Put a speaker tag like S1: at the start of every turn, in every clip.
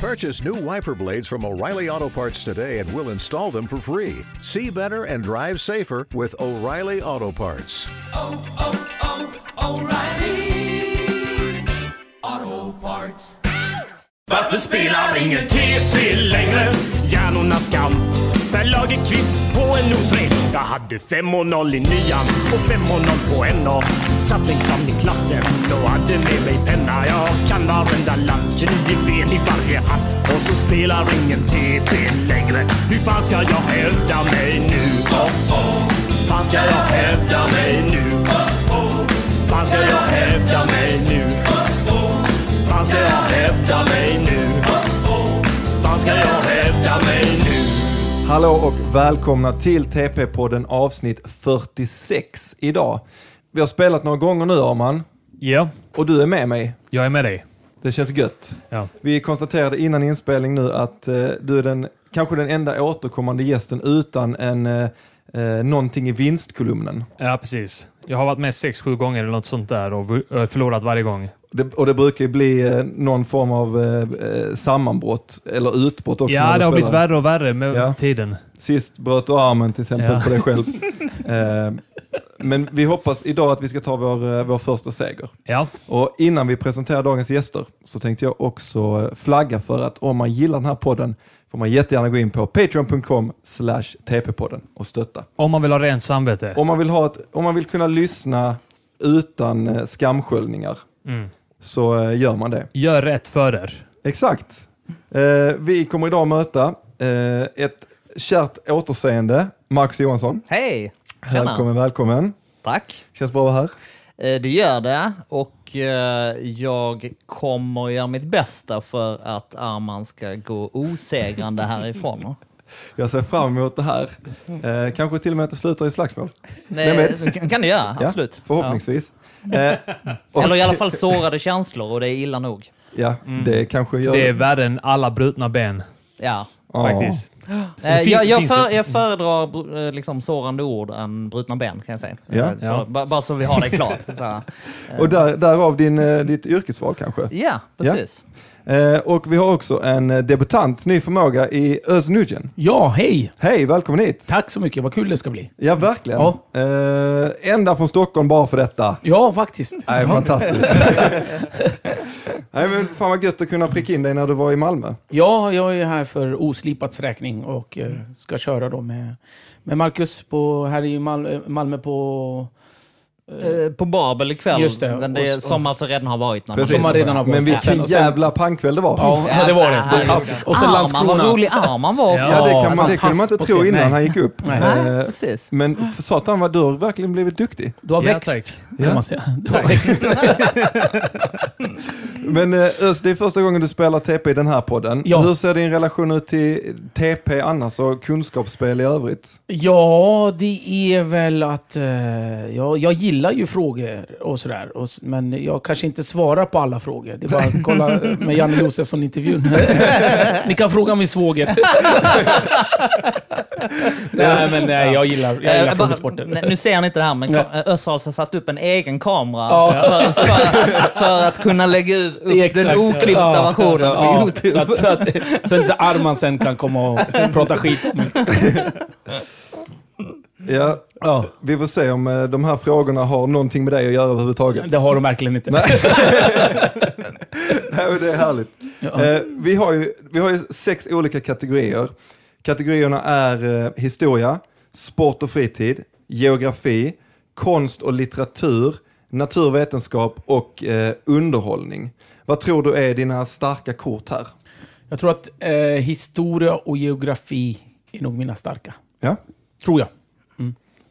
S1: Purchase new wiper blades from O'Reilly Auto Parts today and we'll install them for free. See better and drive safer with O'Reilly Auto Parts.
S2: oh, oh, O'Reilly Auto Parts. Varför spelar ingen TP längre?
S3: Hjärnornas kamp Per Lagerkvist på en O3 Jag hade 5.0 i nian och 5.0 på NA Satt längst fram i klassen och hade med mig penna Jag kan varenda land, tjugo ben i varje hand Och så spelar ingen TP längre Hur fan ska jag hävda mig nu? Oh, oh. Fan ska jag hävda mig nu? Oh, oh. Fan ska jag hävda mig nu? Oh, oh. Fan ska jag hävda mig nu? Oh, oh. Fan ska jag hävda mig nu?
S4: Hallå och välkomna till TP-podden avsnitt 46 idag. Vi har spelat några gånger nu Arman
S5: Ja,
S4: och du är med mig.
S5: jag är med dig.
S4: Det känns gött.
S5: Ja.
S4: Vi konstaterade innan inspelning nu att eh, du är den, kanske den enda återkommande gästen utan en, eh, eh, någonting i vinstkolumnen.
S5: ja, precis. Jag har varit med sex, sju gånger eller något sånt där och v- eh, förlorat varje gång.
S4: Det, och det brukar ju bli eh, någon form av eh, eh, sammanbrott eller utbrott också. när
S5: ja,
S4: du
S5: det har blivit
S4: spelar.
S5: värre och värre med
S4: Ja.
S5: tiden.
S4: Sist bröt du armen till exempel
S5: Ja.
S4: på dig själv. eh, men vi hoppas idag att vi ska ta vår, eh, vår första seger.
S5: Ja,
S4: Och innan vi presenterar dagens gäster så tänkte jag också eh, flagga för att om man gillar den här podden får man jättegärna gå in på patreon.com slash tp-podden och stötta.
S5: om man vill ha rent samvete.
S4: Om man vill, ha ett, om man vill kunna lyssna utan eh, skamsköljningar
S5: Mm.
S4: så eh, gör man det.
S5: Gör rätt för er.
S4: Exakt. Eh, vi kommer idag möta eh, ett kärt återseende, Marcus Johansson.
S6: Hej! Tjena.
S4: Välkommen, välkommen.
S6: Tack!
S4: Känns bra att vara här.
S6: Eh, Det gör det och eh, jag kommer göra mitt bästa för att Arman ska gå osegrande härifrån.
S4: Jag ser fram emot det här. Eh, kanske till och med att det slutar i slagsmål. Vem
S6: Det
S4: vet?
S6: kan- kan du göra, absolut.
S4: Ja, förhoppningsvis. Eh,
S6: Ja.
S4: och-
S6: Eller i alla Mm. fall sårade känslor och det är illa nog.
S4: Ja, det kanske gör...
S5: Det är värre än alla brutna ben,
S6: Ja.
S4: Ja.
S5: faktiskt.
S6: Eh,
S5: fin-
S6: Jag, jag,
S5: finns
S6: för,
S5: det-
S6: jag föredrar br- eh, liksom sårande ord än brutna ben kan jag säga.
S4: Ja.
S6: Eh, så,
S5: Ja.
S6: ba- Bara så vi har det klart. Så, här.
S4: Och där, därav din, eh, ditt yrkesval kanske.
S6: ja, precis.
S4: Eh, och vi har också en eh, debutant, ny förmåga i Özz Nujen.
S7: Ja, hej!
S4: Hej, välkommen hit!
S7: Tack så mycket, vad kul det ska bli.
S4: Ja, verkligen.
S7: Ja.
S4: Eh, ända från Stockholm bara för detta.
S7: Ja, faktiskt.
S4: Nej, fantastiskt. Nej, men fan vad gött att kunna pricka in dig när du var i Malmö.
S7: Ja, jag är här för Oslipats räkning och eh, ska köra då med, med Marcus på, här i Mal- eh, Malmö på...
S6: Eh, På Babel ikväll,
S7: Just det.
S6: men det är
S7: Och-
S6: som alltså redan har varit. När man-
S4: Precis.
S7: Som man redan har
S4: Men
S7: varit sen.
S4: vilken
S7: Och sen-
S4: jävla pangkväll det var.
S7: Ja, ja det var det. Fantastiskt. Och sen
S6: Arman, vad
S7: Landskrona.
S6: Ah, rolig Arman var också.
S4: Ja, det, kan man, det kunde man
S7: fantastiskt
S4: inte
S7: på
S4: tro
S7: scen.
S4: innan
S7: Nej.
S4: han gick upp.
S7: Nej.
S6: Nej,
S4: Eh,
S6: precis.
S7: Ah.
S4: Men för satan vad du har verkligen blivit duktig.
S7: Du har
S5: Ja,
S7: växt,
S5: tack.
S7: kan
S4: Ja.
S7: man säga. Du har växt.
S4: Men eh, Özz, det är första gången du spelar TP i den här podden.
S7: Ja.
S4: Hur ser din relation ut till TP annars och kunskapsspel i övrigt?
S7: Ja, det är väl att... Eh, jag, jag gillar ju frågor och sådär. Och, s- men jag kanske inte svarar på alla frågor. Det är bara att kolla eh, med Janne Josefsson-intervjun. Ni kan fråga min svåger. nej, men nej, jag gillar, jag gillar
S6: Eh, bara- nej,
S7: frågesporter.
S6: nu ser ni inte det här, men
S7: Nej.
S6: kom- eh, Özz har alltså satt upp en egen kamera
S7: Ja.
S6: för, för, för att kunna lägga ut- upp
S7: Exakt.
S6: den oklippta
S7: Ja.
S6: versionen på
S7: Ja,
S6: Youtube.
S7: så, att, så, att, så att inte Arman sen kan komma och prata skit om mig.
S4: Ja,
S7: Ja,
S4: vi får se om eh, de här frågorna har någonting med dig att göra överhuvudtaget.
S7: det har de verkligen inte.
S4: Ja, det är härligt.
S7: Ja.
S4: Eh, vi, har ju, vi har ju sex olika kategorier. Kategorierna är eh, historia, sport och fritid, geografi, konst och litteratur, naturvetenskap och eh, underhållning. Vad tror du är dina starka kort här?
S7: Jag tror att eh, historia och geografi är nog mina starka.
S4: Ja.
S7: Tror jag.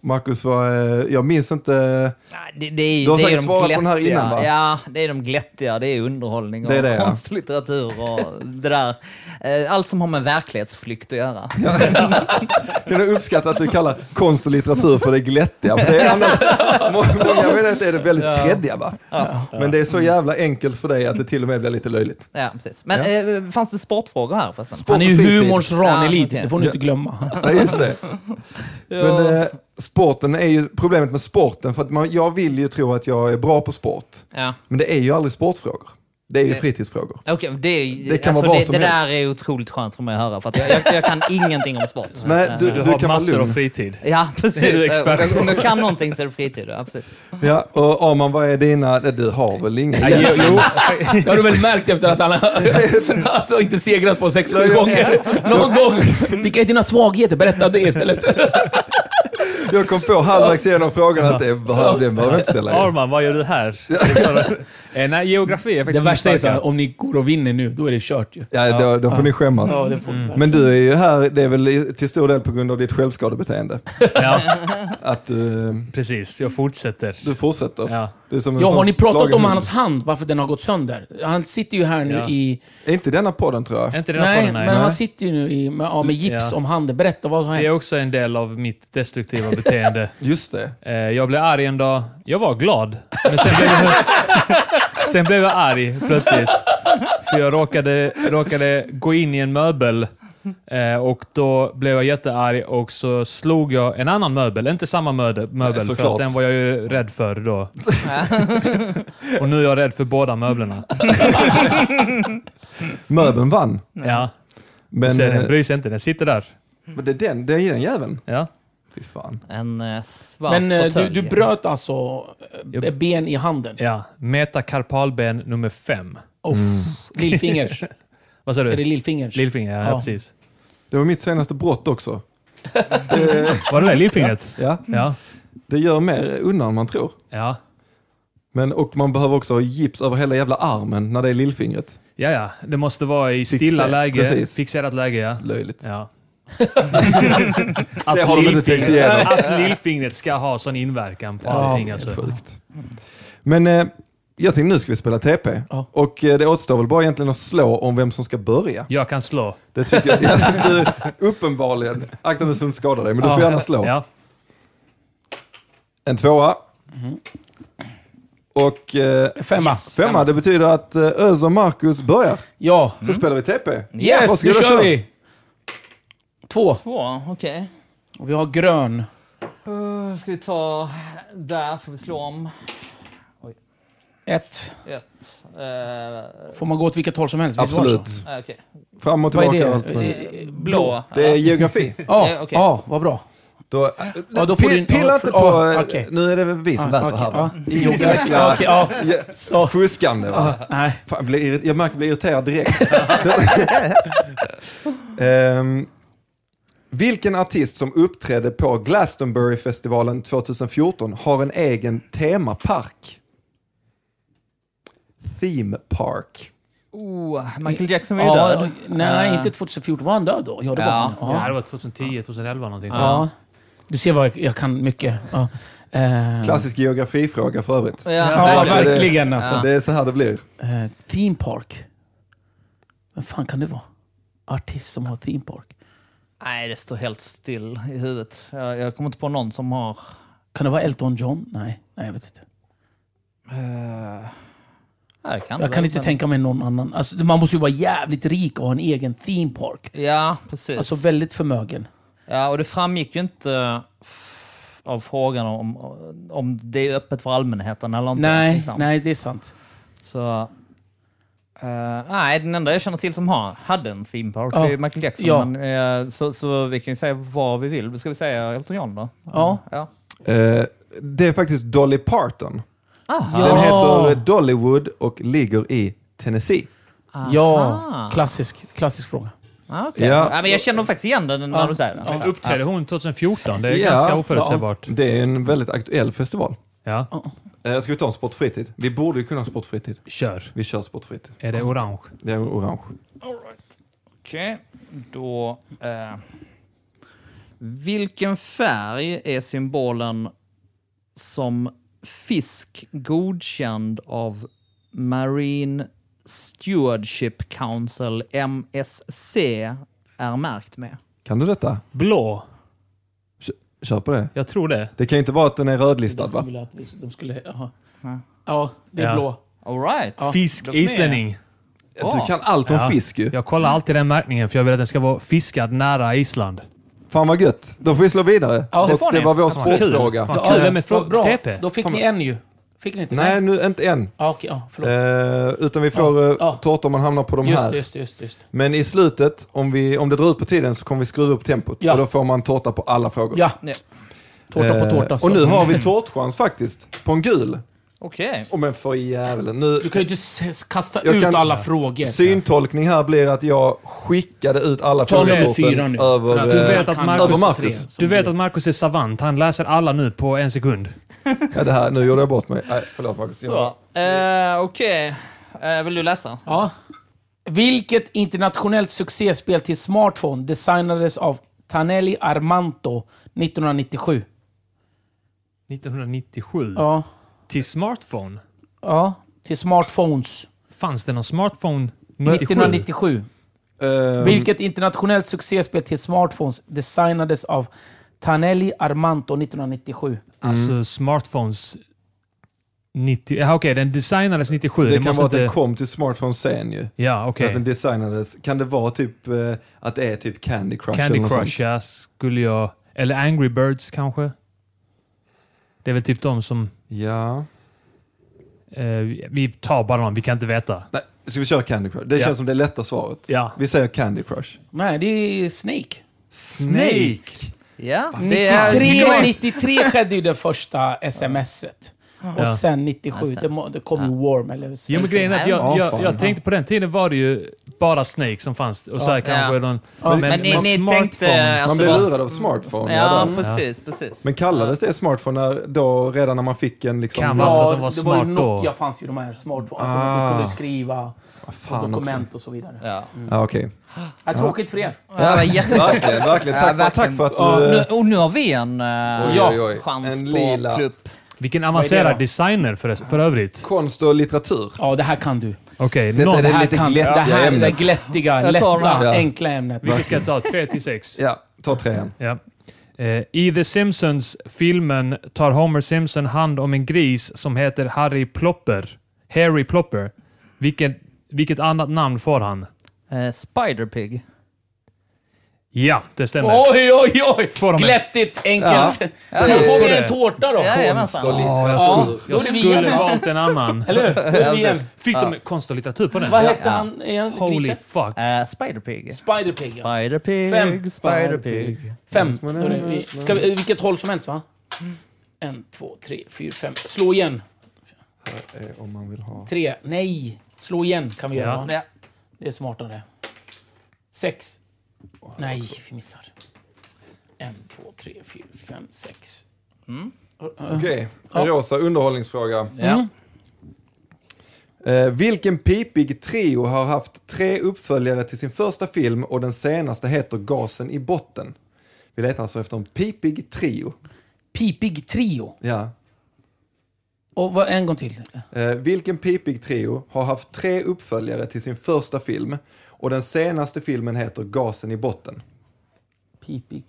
S4: Marcus, var, eh, jag minns inte.
S6: Nej, Det, det är,
S4: Du har
S6: det är
S4: säkert
S6: de
S4: svarat på den här
S6: glättiga.
S4: innan, va?
S6: Ja, det är de glättiga. Det är underhållning och
S4: Det är det, ja.
S6: konst och litteratur och det där. Eh, Allt som har med verklighetsflykt att göra.
S4: Kan du uppskatta att du kallar konst och litteratur för det glättiga? För det är annars, må- många menar att det är det väldigt kreddiga va? Men det är så jävla enkelt för dig att det till och med blir lite löjligt.
S6: Ja, precis. Men eh, fanns det sportfrågor här förresten?
S4: Sport
S7: Han är
S4: och
S7: ju
S4: fritid.
S7: humorns Ranelid,
S6: Ja, okej.
S7: det får ni inte glömma. Alltså,
S4: Ja, just det.
S6: Ja.
S4: Men eh, sporten är ju problemet med sporten, för att man, jag vill ju tro att jag är bra på sport.
S6: Ja.
S4: Men det är ju aldrig sportfrågor. Det är ju fritidsfrågor.
S6: Okej, det, är ju-
S4: Det kan vara
S6: alltså,
S4: vad
S6: det,
S4: som
S6: det
S4: helst.
S6: där är otroligt skönt för mig att höra, för att jag, jag, jag kan ingenting om sport. Eh,
S4: Nej, du,
S5: Du,
S4: du, kan
S5: har
S4: vara
S5: massor av
S4: lugn.
S5: fritid.
S6: Ja, precis.
S5: Är du expert?
S6: Om jag kan någonting så är det fritid. Ja, precis.
S4: Ja, och Arman, vad är dina? Nej, Du har väl inga?
S5: Nej, jo, jo.
S7: Det har du väl märkt efter att han har- alltså, inte segrat på sex, sju gånger. Någon gång. Vilka är dina svagheter? Berätta det istället.
S4: Jag kom på halvvägs igenom frågan att det behöver, den behöver jag inte ställa in.
S5: Arman, vad gör du här? eh, nej, geografi är
S7: Det
S5: faktiskt
S7: värsta är
S5: min
S7: så här,
S5: starka.
S7: om ni går och vinner nu, då är det kört ju. Mm.
S4: Ja, då, då får ni skämmas.
S8: Ja, det får vi
S4: Men du är ju här, det är väl i- till stor del på grund av ditt självskadebeteende.
S5: Ja,
S4: Att du,
S5: precis. Jag fortsätter.
S4: du fortsätter.
S5: Ja.
S4: Du är som en
S7: Ja,
S4: sån
S7: har ni pratat
S4: slagen
S7: om
S4: hund.
S7: hans hand? Varför den har gått sönder? Han sitter ju här nu
S5: Ja.
S7: i...
S4: Inte i denna podden tror jag.
S5: Är inte den här
S7: Nej,
S5: podden
S7: men
S5: här?
S7: han sitter ju nu i, med, ja, med gips
S5: Ja.
S7: om handen. Berätta, vad har
S5: Det är
S7: hänt?
S5: också en del av mitt destruktiva beteende.
S4: Just det.
S5: Eh, jag blev arg en dag. Jag var glad, men sen blev jag, sen blev jag arg plötsligt. För jag råkade, råkade gå in i en möbel eh, och då blev jag jättearg och så slog jag en annan möbel. Inte samma möde, möbel, för
S4: såklart.
S5: att den var jag ju rädd för då. och nu är jag rädd för båda möblerna.
S4: Möbeln vann.
S5: Ja,
S4: Men,
S5: så den
S4: eh,
S5: bryr sig inte. Den sitter där.
S4: men det är den, det är den jäveln.
S5: Ja.
S4: Fy fan.
S6: En eh, svart
S7: Men eh, du,
S6: fåtölj.
S7: du bröt alltså eh,
S5: Jag-
S7: ben i handen?
S5: ja. Metakarpalben nummer fem.
S7: Oh,
S4: Mm.
S7: Lillfingers.
S5: Vad sa
S7: Är det
S5: du?
S7: lillfingers?
S5: Lillfinger? Ja,
S7: Ja.
S5: precis.
S4: Det var mitt senaste brott också.
S5: Var det där lillfingret?
S4: Ja,
S5: Ja.
S4: det gör mer undan än man tror.
S5: Ja.
S4: Men, och man behöver också ha gips över hela jävla armen när det är lillfingret.
S5: Ja, ja. Det måste vara i
S4: Fixe-
S5: stilla läge.
S4: precis.
S5: Fixerat läge, ja.
S4: Löjligt.
S5: ja.
S4: Det har de inte tänkt
S5: lillfingret-
S4: igenom.
S5: Att lillfingret ska ha sån inverkan på allting.
S4: Helt
S5: Alltså.
S4: sjukt. Men eh, jag tänkte nu ska vi spela TP.
S7: Ja.
S4: Och eh, det återstår väl bara egentligen att slå om vem som ska börja.
S5: Jag kan slå.
S4: Det tycker jag. Alltså, du, uppenbarligen. Akta nu så du inte skadar dig, men du får gärna slå.
S5: Ja.
S4: En tvåa. Och eh,
S7: Femma.
S4: femma, det betyder att eh, Öz och Marcus börjar.
S7: Ja.
S4: Så spelar vi TP.
S7: Yes, nu
S4: Varsågoda,
S7: kör
S4: kör.
S7: vi! Två.
S6: Två, okej.
S7: Och vi har grön.
S6: Eh, ska vi ta där, får vi slå om.
S7: Ett.
S6: Ett. Eh,
S7: Får man gå åt vilket håll som helst? Visst var det
S4: Absolut.
S7: så?
S6: eh, okej.
S4: Fram och
S7: Vad är
S4: tillbaka. och allt möjligt.
S7: det? Eh,
S6: Blå.
S4: det är geografi.
S7: Ja,
S6: Eh, okej.
S7: ja, vad bra.
S4: Då,
S7: Ja, då får
S4: Pi-
S7: du-
S4: pilla
S7: ja,
S4: inte
S7: för-
S4: på...
S7: ja,
S4: eh,
S7: okej. Ah,
S4: Nu är det väl vi som bär så här va?
S7: okej,
S4: Ingen jäkla
S7: Okej, Ah. ja.
S4: ja, fuskande va?
S7: Nej.
S4: Fan, jag, blir irrit- jag märker att jag blir irriterad direkt. Ehm, vilken artist som uppträdde på Glastonbury-festivalen 2014 har en egen temapark? Theme Park.
S6: Oh, Michael Jackson var ju
S7: Ja,
S6: död.
S7: nej,
S6: Eh,
S7: inte 2014. Var han död då? Ja, det var
S6: Ja.
S7: han.
S5: Ja,
S7: Ja.
S5: det var 2010, 2011 någonting.
S7: Ja. Du ser vad jag, jag kan mycket. Ja. Eh,
S4: Klassisk
S5: Mm.
S4: geografifråga för övrigt.
S6: Eh, Ja,
S7: Ja,
S6: verkligen.
S7: verkligen alltså.
S4: Det är så här det blir.
S7: Eh, theme Park. Vem fan kan det vara? Artist som har Theme Park.
S6: Nej, det står helt still i huvudet. Jag, jag kommer inte på någon som har...
S7: Kan det vara Elton John? Nej, nej jag vet inte.
S6: Ja, det kan det
S7: Jag kan
S6: väl,
S7: inte
S6: men-
S7: tänka mig någon annan. Alltså, man måste ju vara jävligt rik och ha en egen Theme Park.
S6: Ja, precis.
S7: Alltså väldigt förmögen.
S6: Ja, och det framgick ju inte f- av frågan om, om det är öppet för allmänheten eller inte.
S7: Nej,
S6: liksom.
S7: nej, det är sant.
S6: Så, eh, nej, den enda jag känner till som har, hade en theme park
S7: Ja.
S6: det är Michael Jackson.
S7: Ja.
S6: Men, eh, så, så vi kan ju säga vad vi vill. Ska vi säga Elton John då?
S7: Ja.
S6: ja.
S4: Eh, det är faktiskt Dolly Parton.
S5: Ah,
S7: Ja.
S4: Den heter Dollywood och ligger i Tennessee.
S7: Mm. Ja, klassisk, klassisk fråga.
S6: Ah, okej.
S4: Ja.
S6: ja. men jag känner faktiskt igen den när du säger den.
S5: Ja. Uppträdde hon 2014? Det är
S4: Ja.
S5: ganska oförutsägbart. Ja.
S4: Det är en väldigt aktuell festival. Eh, ska vi ta en sportfritid? Vi borde ju kunna ha sportfritid.
S5: Kör.
S4: Vi kör sportfritid.
S5: Är det orange?
S4: Det är orange.
S6: Okej, då... Eh, vilken färg är symbolen som fisk godkänd av Marine Stewardship Council, MSC, är märkt med?
S4: Kan du detta?
S5: Blå?
S4: Kör på det.
S5: Jag tror det.
S4: Det kan ju inte vara att den är rödlistad va?
S7: De ville att vi- de skulle... jaha.
S6: Ja.
S7: Ja, det är
S5: Ja.
S7: blå.
S6: All right.
S5: Fisk,
S6: då får ni-
S5: islänning.
S4: Du kan allt om
S5: Ja.
S4: fisk ju.
S5: Jag kollar alltid den märkningen för jag vill att den ska vara fiskad nära Island.
S4: Fan vad gött. Då får vi slå vidare.
S7: Ja, det
S4: Och
S7: får
S4: det
S7: ni.
S4: var vår
S5: Fan, kul.
S4: sportfråga.
S5: Fan, kul. Det med
S7: Vad
S5: frå- TP.
S7: Då fick
S4: Kommer-
S7: ni en ju. Fick ni inte?
S4: Nej, nu inte än.
S7: Ah, okej, ja, förlåt.
S4: Eh, utan vi får
S7: Ja,
S4: eh,
S7: ja.
S4: tårta om man hamnar på de
S7: just,
S4: här.
S7: det, just, det, just, det, just. det.
S4: Men i slutet, om, vi, om det drar ut på tiden så kommer vi skruva upp tempot.
S7: Ja.
S4: Och då får man tårta på alla frågor.
S7: Ja.
S6: Nej.
S7: Tårta på
S4: Eh,
S7: tårta. så. Mm.
S4: Och nu har vi tårtchans faktiskt. På en gul.
S6: Okej.
S4: Oh, men för jävlen. Nu,
S7: Du kan ju inte s- kasta
S4: Jag
S7: ut
S4: kan-
S7: alla frågor.
S4: Syntolkning här blir att jag skickade ut alla
S7: Ta med
S4: frågekorten
S7: fyra nu,
S4: över...
S7: för att-
S5: Du
S4: eh,
S5: vet att
S7: Kan-
S4: över
S5: Marcus,
S4: Marcus.
S5: du vet att Marcus är savant. Han läser alla nu på en sekund.
S4: Ja, det här, nu gjorde jag bort mig. Nej, förlåt Marcus.
S6: Så. Eh, Okej. Eh, vill du läsa?
S7: Ja. Vilket internationellt succéspel till smartphone designades av Taneli Armanto 1997?
S5: 1997.
S7: Ja.
S5: Till smartphone.
S7: Ja. Till smartphones.
S5: Fanns det någon smartphone 97?
S4: Mm.
S7: 1997.
S4: Ehm,
S7: Vilket internationellt succéspel till smartphones designades av Taneli Armanto 1997?
S5: Alltså smartphones... 90... Ja, Okej, den designades 97.
S4: det
S5: Den
S4: kan
S5: måste
S4: vara att
S5: inte...
S4: den kom till smartphone sen ju.
S5: Ja, okej.
S4: Att den designades. Kan det vara typ eh, att det är typ Candy Crush eller
S5: Candy
S4: något
S5: Crush,
S4: sånt?
S5: ja, skulle jag... Eller Angry Birds kanske? Det är väl typ de som...
S4: ja.
S5: Eh, vi tar bara dem, vi kan inte veta.
S4: Nej, ska vi köra Candy Crush? Det
S5: Ja.
S4: känns som det lätta svaret.
S5: Ja.
S4: Vi säger Candy Crush.
S7: Nej, det är Snake.
S4: Snake!
S6: Ja. Det är...
S7: 93, 93 skedde ju det första smset. Och
S5: Ja.
S7: sen 97,
S6: Just det.
S7: det, må- det kom ju Warm eller
S5: Jo, men grejen är att jag,
S4: Ja,
S5: jag,
S4: fan.
S5: jag tänkte på den tiden var det ju bara Snake som fanns. Och så här kanske
S6: Ja.
S5: någon...
S7: Ja.
S5: Men,
S6: Men ni-
S5: men
S6: ni
S5: smartphones-
S6: tänkte-
S4: Man
S6: Alltså,
S4: blir
S6: vad-
S4: lurad av smartphone.
S6: Ja,
S4: där.
S6: precis, precis.
S4: Men kallades det smartphone när, då, redan när man fick en liksom...
S5: Kan vara.
S7: Ja,
S5: att de var
S7: det var ju
S5: smart då.
S7: Nokia fanns ju de här smartphones.
S4: Ah.
S7: Alltså, du kunde skriva
S4: Fan också.
S7: dokument och så vidare.
S6: Ja.
S4: Ja, okej.
S7: Ja, tråkigt för er.
S6: Ja, det var jätte...
S4: Verkligen, verkligen. Tack,
S6: Ja, verkligen.
S4: För, tack för
S6: Ja,
S4: att du... eh,
S6: nu, och nu har vi en eh,
S4: Oj, oj, oj.
S6: chans
S4: En
S6: på
S4: lila.
S6: plupp.
S5: Vilken
S7: Vad är
S5: avancerad
S7: det då?
S5: designer för, för övrigt.
S4: Konst och litteratur.
S7: Ja, det här kan du.
S5: Okej,
S4: Detta
S5: någon...
S4: är det
S7: här
S4: lite
S7: kan du. Det
S4: glättiga
S7: här är det
S4: ämnet.
S7: glättiga,
S6: Jag tar
S7: lätta,
S6: den
S4: här.
S7: enkla ämnet.
S5: Vilken ska jag ta? 3 till 6?
S4: Ja, ta tre igen.
S5: Ja. Eh, I The Simpsons-filmen tar Homer Simpson hand om en gris som heter Harry Plopper. Harry Plopper. Vilket, vilket annat namn får han?
S6: Eh, Spiderpig.
S5: Ja, det stämmer.
S7: Oj, oj, oj!
S5: Får de ett?
S7: Glättigt, enkelt.
S6: Ja,
S7: Då
S6: det-
S7: får vi
S5: det-
S7: en tårta då.
S6: Jajamensan.
S4: Konst och litteratur.
S7: Då är
S5: Jag
S7: det vi igen.
S5: skulle valt en annan.
S7: Eller hur? Då är vi igen.
S5: Fick de konst och litteratur på den?
S7: Vad hette han igen?
S5: Holy
S7: Grisen?
S5: fuck.
S6: Eh, Spiderpig.
S7: Spiderpig. ja. Fem.
S6: Spiderpig, Spiderpig.
S7: Fem. Då är det vi- Ska vi, vilket håll som helst va? En, två, tre, fyra, fem. Slå igen.
S4: Eh, Om man vill ha...
S7: Tre. Nej. Slå igen kan vi göra.
S5: Ja.
S7: va?
S6: Ja.
S7: Det är smartare. Sex. Nej, vi missar. En, två, tre, fyra, fem, sex.
S4: Okej, en rosa underhållningsfråga.
S6: Ja.
S4: Eh, vilken pipig trio har haft tre uppföljare till sin första film och den senaste heter Gasen i botten? Vi letar alltså efter en pipig trio.
S7: Pipig trio.
S4: Ja.
S7: Och vad, en gång till.
S4: Eh, vilken pipig trio har haft tre uppföljare till sin första film och den senaste filmen heter Gasen i botten?
S7: Pipig...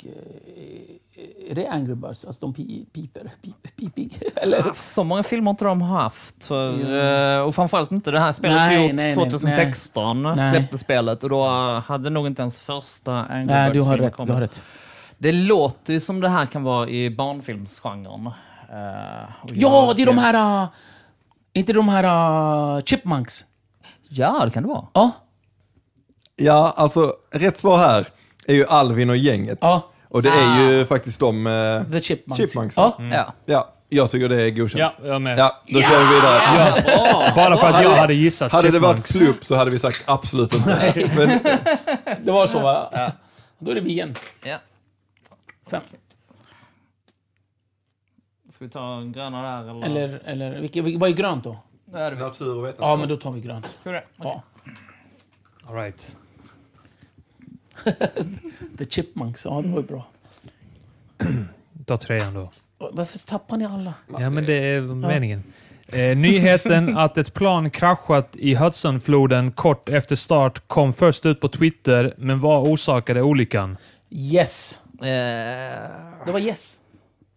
S7: eh, Är det Angry Birds? Alltså de pi, piper? Pip, pipig? Eller?
S6: Ah, Så många filmer inte de har haft. För, eh, och framförallt inte det här spelet
S7: Nej,
S6: nej, gjort
S7: nej, nej,
S6: 2016.
S7: nej.
S6: Släppte spelet och då eh, hade nog inte ens första Angry
S7: Nej, du
S6: Birds
S7: har
S6: film
S7: rätt. Du
S6: kommit.
S7: har rätt.
S6: Det låter ju som det här kan vara i barnfilmsgenren. Eh, och
S7: Ja,
S6: jag-
S7: det är de här... äh, inte de här äh, Chipmunks?
S6: Ja, det kan det vara.
S7: Ja.
S4: Ja, alltså rätt svar här är ju Alvin och gänget.
S7: Ja.
S4: Och det är ju faktiskt de... Eh,
S7: The Chipmunks.
S4: Chipmunks,
S7: Ja.
S6: Ja.
S4: Ja, jag tycker det är godkänt.
S5: Ja, jag med.
S4: Ja, då kör vi vidare.
S5: Bara för att jag hade gissat
S4: Hade det varit
S5: Chipmunks.
S4: plupp så hade vi sagt absolut inte. Men
S7: Det var så va? Då är det vi igen.
S6: ja.
S7: Fem.
S6: Ska vi ta en gröna där eller?
S7: Eller, eller vilket, vilket, vad är grönt då?
S6: Ja, det vet
S4: natur och
S7: Ja,
S4: vetenskap.
S7: men då tar vi grönt.
S6: jag. Okej.
S7: Ja.
S5: All right.
S7: The Chipmunks, ja det var ju bra.
S5: Ta trean då.
S7: Varför tappar ni alla?
S5: Ja, men det är meningen. Eh, nyheten att ett plan kraschat i Hudsonfloden kort efter start kom först ut på Twitter, men vad orsakade olyckan?
S7: Yes.
S6: Eh,
S7: Det var yes.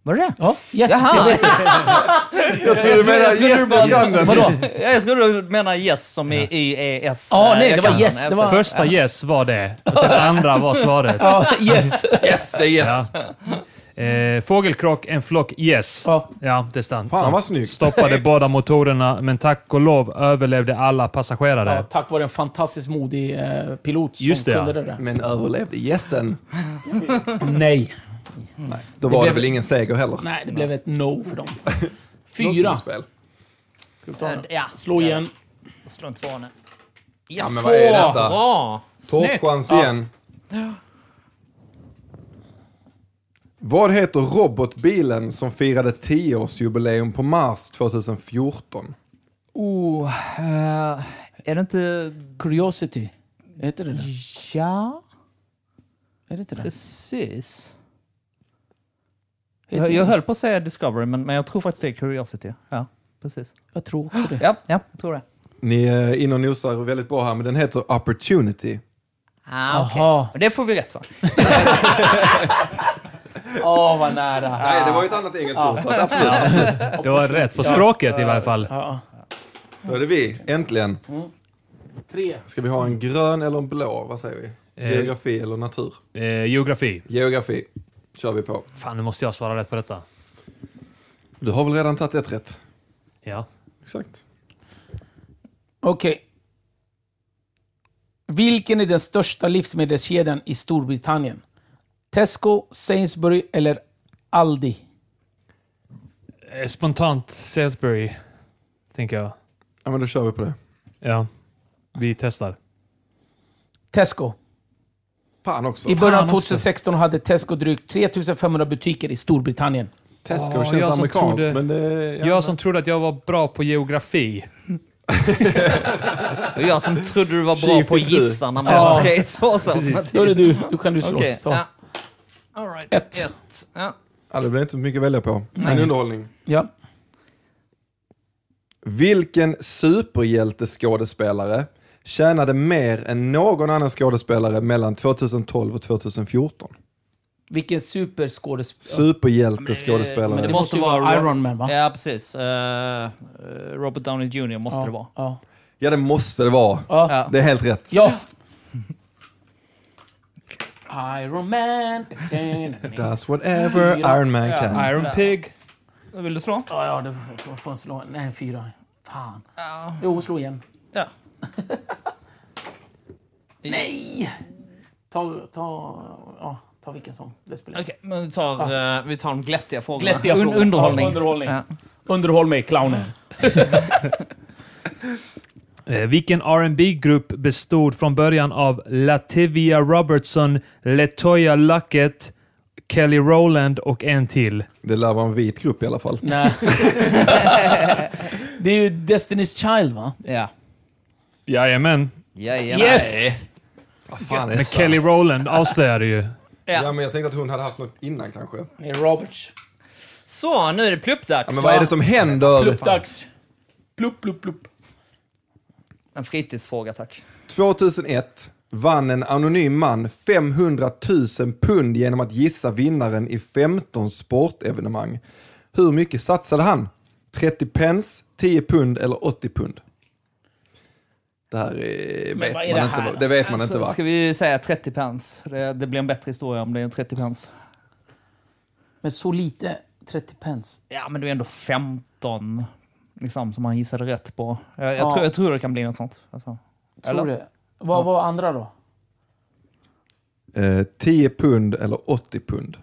S6: var det
S7: Ja, yes.
S6: Jaha.
S7: Det vet jag.
S4: Jag tror du menar gästen Janne.
S7: Vadå?
S6: Ja, jag tror du menar yes som i Y-E-S.
S7: Ja,
S6: Eh,
S7: nej,
S6: jag
S7: det var
S6: kan
S7: yes,
S6: den.
S7: det var-
S5: Första yes var det, och sen andra var svaret.
S7: Ja, yes.
S4: Yes, det är yes.
S5: Ja. Eh, fågelkrock, en flock gäss.
S7: Ja.
S5: Ja, det stann.
S4: Fan,
S5: Så.
S4: vad snyggt.
S5: Stoppade båda motorerna, men tack och lov överlevde alla passagerare.
S7: Ja, tack vare en fantastiskt modig eh, pilot som
S5: Just det,
S7: kunde
S5: ja.
S7: det där.
S4: Men överlevde gässen?
S5: Nej.
S4: Då var det,
S7: blev-
S4: väl ingen seger heller?
S7: Nej, det blev ett no för dem.
S4: Något
S7: Fyra. Ska
S4: slutspel.
S7: vi ta den?
S6: Ja.
S7: Slå igen.
S6: Slå en tvåa nu. Yes.
S4: Ja, men vad är detta?
S6: Bra! Snyggt!
S4: Tårtchans igen. Vad heter robotbilen som firade 10-årsjubileum på Mars 2014?
S6: Oh, eh, är det inte...
S7: Curiosity. Heter det det?
S6: Ja,
S7: Är det inte det?
S6: precis.
S7: Heter
S6: Jag, jag höll på att säga Discovery, men, men jag tror faktiskt det är Curiosity. Ja, precis.
S7: Jag tror också det.
S6: Ja, ja jag tror det.
S4: Ni är inne och nosar väldigt bra här, men den heter Opportunity.
S6: Ah, okej.
S7: Aha.
S6: Men Det får vi rätt för. Åh, vad nära.
S4: Nej, det var ju ett annat engelskt ord, så att absolut.
S5: Det var rätt på språket i varje fall.
S7: Ja,
S4: Då är det vi, äntligen.
S7: tre.
S4: Ska vi ha en grön eller en blå? Vad säger vi? Geografi eller natur?
S5: Eh, geografi.
S4: Geografi kör vi på.
S5: Fan, nu måste jag svara rätt på detta.
S4: Du har väl redan tagit ett rätt?
S5: Ja.
S4: Exakt.
S7: Okej. Vilken är den största livsmedelskedjan i Storbritannien? Tesco, Sainsbury eller Aldi?
S5: Eh, Spontant Salisbury, tänker jag.
S4: Ja, men då kör vi på det.
S5: Ja. Vi testar.
S7: Tesco.
S4: Fan också.
S7: I början av
S5: också.
S7: 2016 hade Tesco drygt 3500 butiker i Storbritannien.
S4: Tesco
S5: Åh, jag
S4: känns
S5: som
S4: amerikanskt,
S5: trodde-
S4: men det... Ja.
S5: Jag som trodde att jag var bra på geografi.
S6: Det var jag som trodde du var bra
S4: Tji
S6: på att
S4: fick du.
S6: gissa när man har tre svarsalternativ.
S7: Då är det du. Då kan du slå.
S6: Okej,
S7: Så.
S6: ja. All right.
S7: Ett.
S6: Ett. Ja.
S4: Ja, det blir inte mycket att välja på. Men underhållning.
S7: Ja.
S4: Vilken superhjälteskådespelare tjänade mer än någon annan skådespelare mellan 2012 och 2014?
S7: Vilken superskådespelare.
S4: Superhjälteskådespelare.
S7: Men det måste ju vara Iron Man, va?
S6: Ja, precis. Eh, eh, Robert Downey Jr måste det vara.
S7: Ja.
S4: Ja, det måste det vara.
S7: Ja.
S4: Det är helt rätt.
S7: ja. Iron Man. Ja,
S4: That's whatever
S7: Fyra.
S4: Iron Man can.
S5: Iron Pig.
S6: Vill du slå?
S7: ja, det då får jag slå. Nej, fyra. Fan. Jo, slå igen.
S6: Ja.
S7: Nej! Ta, ta, ja, ta vilken som. Det spelar
S6: Okej, men vi tar, eh, vi tar de glättiga frågorna.
S7: Glättiga frågor.
S6: underhållning.
S7: Ja, underhållning.
S6: Ja.
S7: Underhåll mig, clownen.
S5: Eh, vilken rb grupp bestod från början av Lativia Robertson, Latoya Luckett, Kelly Rowland och en till?
S4: Det lär vara en vit grupp i alla fall.
S7: Nej. det är ju Destiny's Child, va?
S6: Ja.
S5: Jajamän.
S6: Jajamän.
S7: Yes!
S4: Fan, det är
S5: Men
S4: sant.
S5: Kelly Rowland avslöjade ju.
S4: Ja, men jag tänkte att hon hade haft något innan kanske.
S7: Det är Roberts.
S6: Så, nu är det pluppdags.
S4: Ja, men vad är det som händer?
S7: Pluppdags. Plupp, plupp, plupp.
S6: En fritidsfråga, tack.
S4: 2001 vann en anonym man 500 000 pund genom att gissa vinnaren i 15 sportevenemang. Hur mycket satsade han? 30 pence, 10 pund eller 80 pund? Det här är, vet
S7: vad är
S4: man
S7: det
S4: inte.
S7: här? alltså?
S4: va? Det vet man inte
S6: Så
S4: va?
S6: ska vi säga 30 pence. Det, det blir en bättre historia om det är en 30 pence.
S7: Men så lite. 30 pence.
S6: Ja, men det är ändå 15 liksom, som han gissade rätt på. Jag, jag,
S7: Ja.
S6: tror, jag tror det kan bli något sånt. Alltså.
S7: Tror det. Vad var andra då?
S4: Eh, 10 pund eller 80 pund?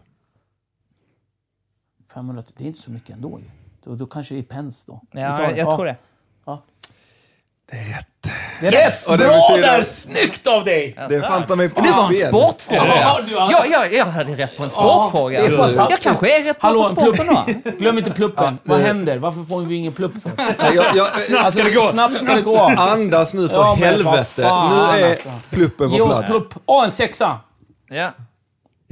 S7: 500 Det är inte så mycket ändå ju. Då, då kanske det är pence då.
S6: Ja,
S7: Vi tar
S6: jag,
S7: det.
S6: jag
S7: Ja.
S6: tror det.
S7: Det är yes!
S4: Och det
S7: Bra
S4: betyder-
S7: där! Snyggt av dig!
S4: Det är fantar mig
S6: Det var en
S4: igen.
S6: sportfråga!
S7: Ja,
S6: Ja,
S7: du har-
S6: ja, jag hade rätt på en sportfråga.
S7: det är fantastiskt.
S6: Jag kanske är rätt
S7: Hallå,
S6: på
S7: en plupp.
S6: sporten då.
S7: Glöm inte pluppen. Vad
S4: det-
S7: händer? Varför får vi ingen plupp för?
S4: Nej, Jag, jag,
S7: Alltså,
S5: ska det gå.
S7: Snabbt ska det gå.
S4: andas nu för
S7: Ja, men vad
S4: helvete.
S7: fan,
S4: nu är
S7: alltså.
S4: pluppen
S7: Ge
S4: på
S7: oss
S4: plats.
S7: plupp. Åh, en sexa!
S6: Ja.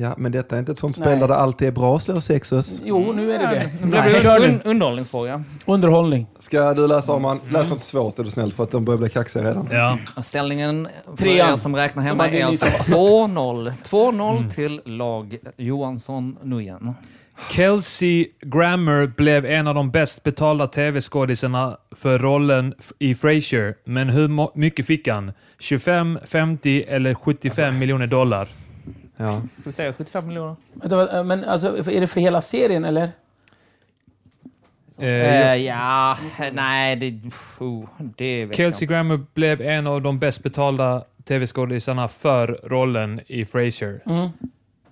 S4: Ja, men detta är inte ett sånt spel
S7: Nej.
S4: där det alltid är bra att slå sexus.
S7: Jo, nu är det Mm. det.
S6: Det
S7: Nej,
S6: blir
S7: kör
S6: en
S7: nu.
S6: un- underhållningsfråga.
S7: Underhållning.
S4: Ska du läsa om man Läs något svårt är du snäll för att de börjar bli kaxiga redan.
S5: Ja.
S6: Och Ställningen för
S7: Trean.
S6: er som räknar hemma
S7: De hade
S6: är
S7: en
S6: alltså
S7: ny
S6: 2-0. 2-0 till lag Johansson Nguyen.
S5: Kelsey Grammer blev en av de bäst betalda tv-skådisarna för rollen f- i Frasier, men hur mo- mycket fick han? 25, 50 eller 75 miljoner dollar?
S4: Ja.
S6: Ska vi säga 75 miljoner?
S7: Vänta, vad- Men alltså, är det för hela serien eller?
S5: Eh,
S6: Eh, ja, nej, det... Oh, det vet jag
S5: Kelsey
S6: inte.
S5: Grammer blev en av de bäst betalda tv-skådisarna för rollen i Frasier.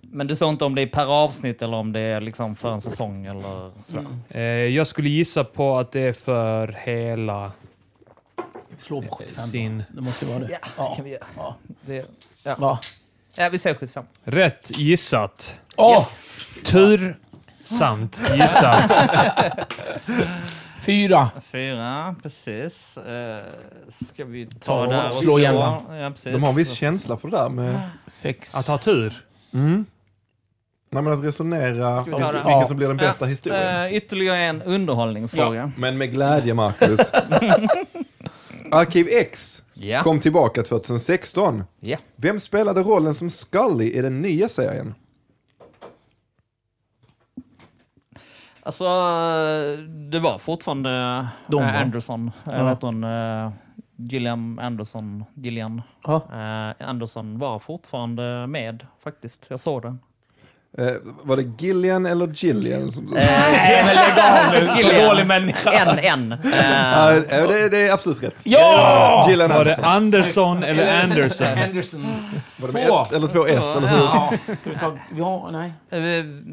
S6: Men du sa inte om det är per avsnitt eller om det är liksom för en säsong eller sådär.
S5: Eh, jag skulle gissa på att det är för hela
S7: Slå på 75
S5: sin...
S7: Eh, Det måste ju vara det.
S6: Det kan vi göra. Det,
S7: Va?
S6: ja, vi säger 75.
S5: Rätt gissat.
S7: Åh,
S6: Yes!
S5: Tur samt gissat.
S7: fyra!
S6: Fyra, precis. Eh, ska vi ta
S7: Ta och
S6: där och
S7: slå igen, va?
S6: Ja, precis.
S4: De har en viss känsla för det där med Mm.
S7: Sex.
S5: Att ha tur.
S4: nej, men att resonera om
S6: Ska vi ta det?
S4: vilken
S7: Ja.
S4: som blir den bästa
S6: Ja,
S4: historien.
S6: eh, ytterligare en underhållningsfråga.
S4: Men med glädje, Marcus. Arkiv X
S6: Ja.
S4: kom tillbaka 2016.
S6: Ja.
S4: Vem spelade rollen som Scully i den nya serien?
S6: Alltså, eh, det var fortfarande
S7: De
S6: eh,
S7: var.
S6: Anderson.
S7: Ja.
S6: Ja. Vet hon, eh, Gillian Anderson. Gillian.
S7: Ja.
S6: Eh, Anderson var fortfarande med faktiskt. Jag såg den.
S4: Eh, var det Gillian eller Gillian? Som...
S6: Eh.
S9: Så dålig människa.
S6: En, en. Eh,
S4: Ja, eh, det, det är absolut rätt.
S9: Ja!
S4: Gillian
S5: Var det
S4: Anderson.
S5: Andersson eller Anderson?
S7: Anderson.
S4: Var det med ett eller två S? Eller hur?
S7: Ja, ska vi ta... Vi har... Nej.
S6: eh,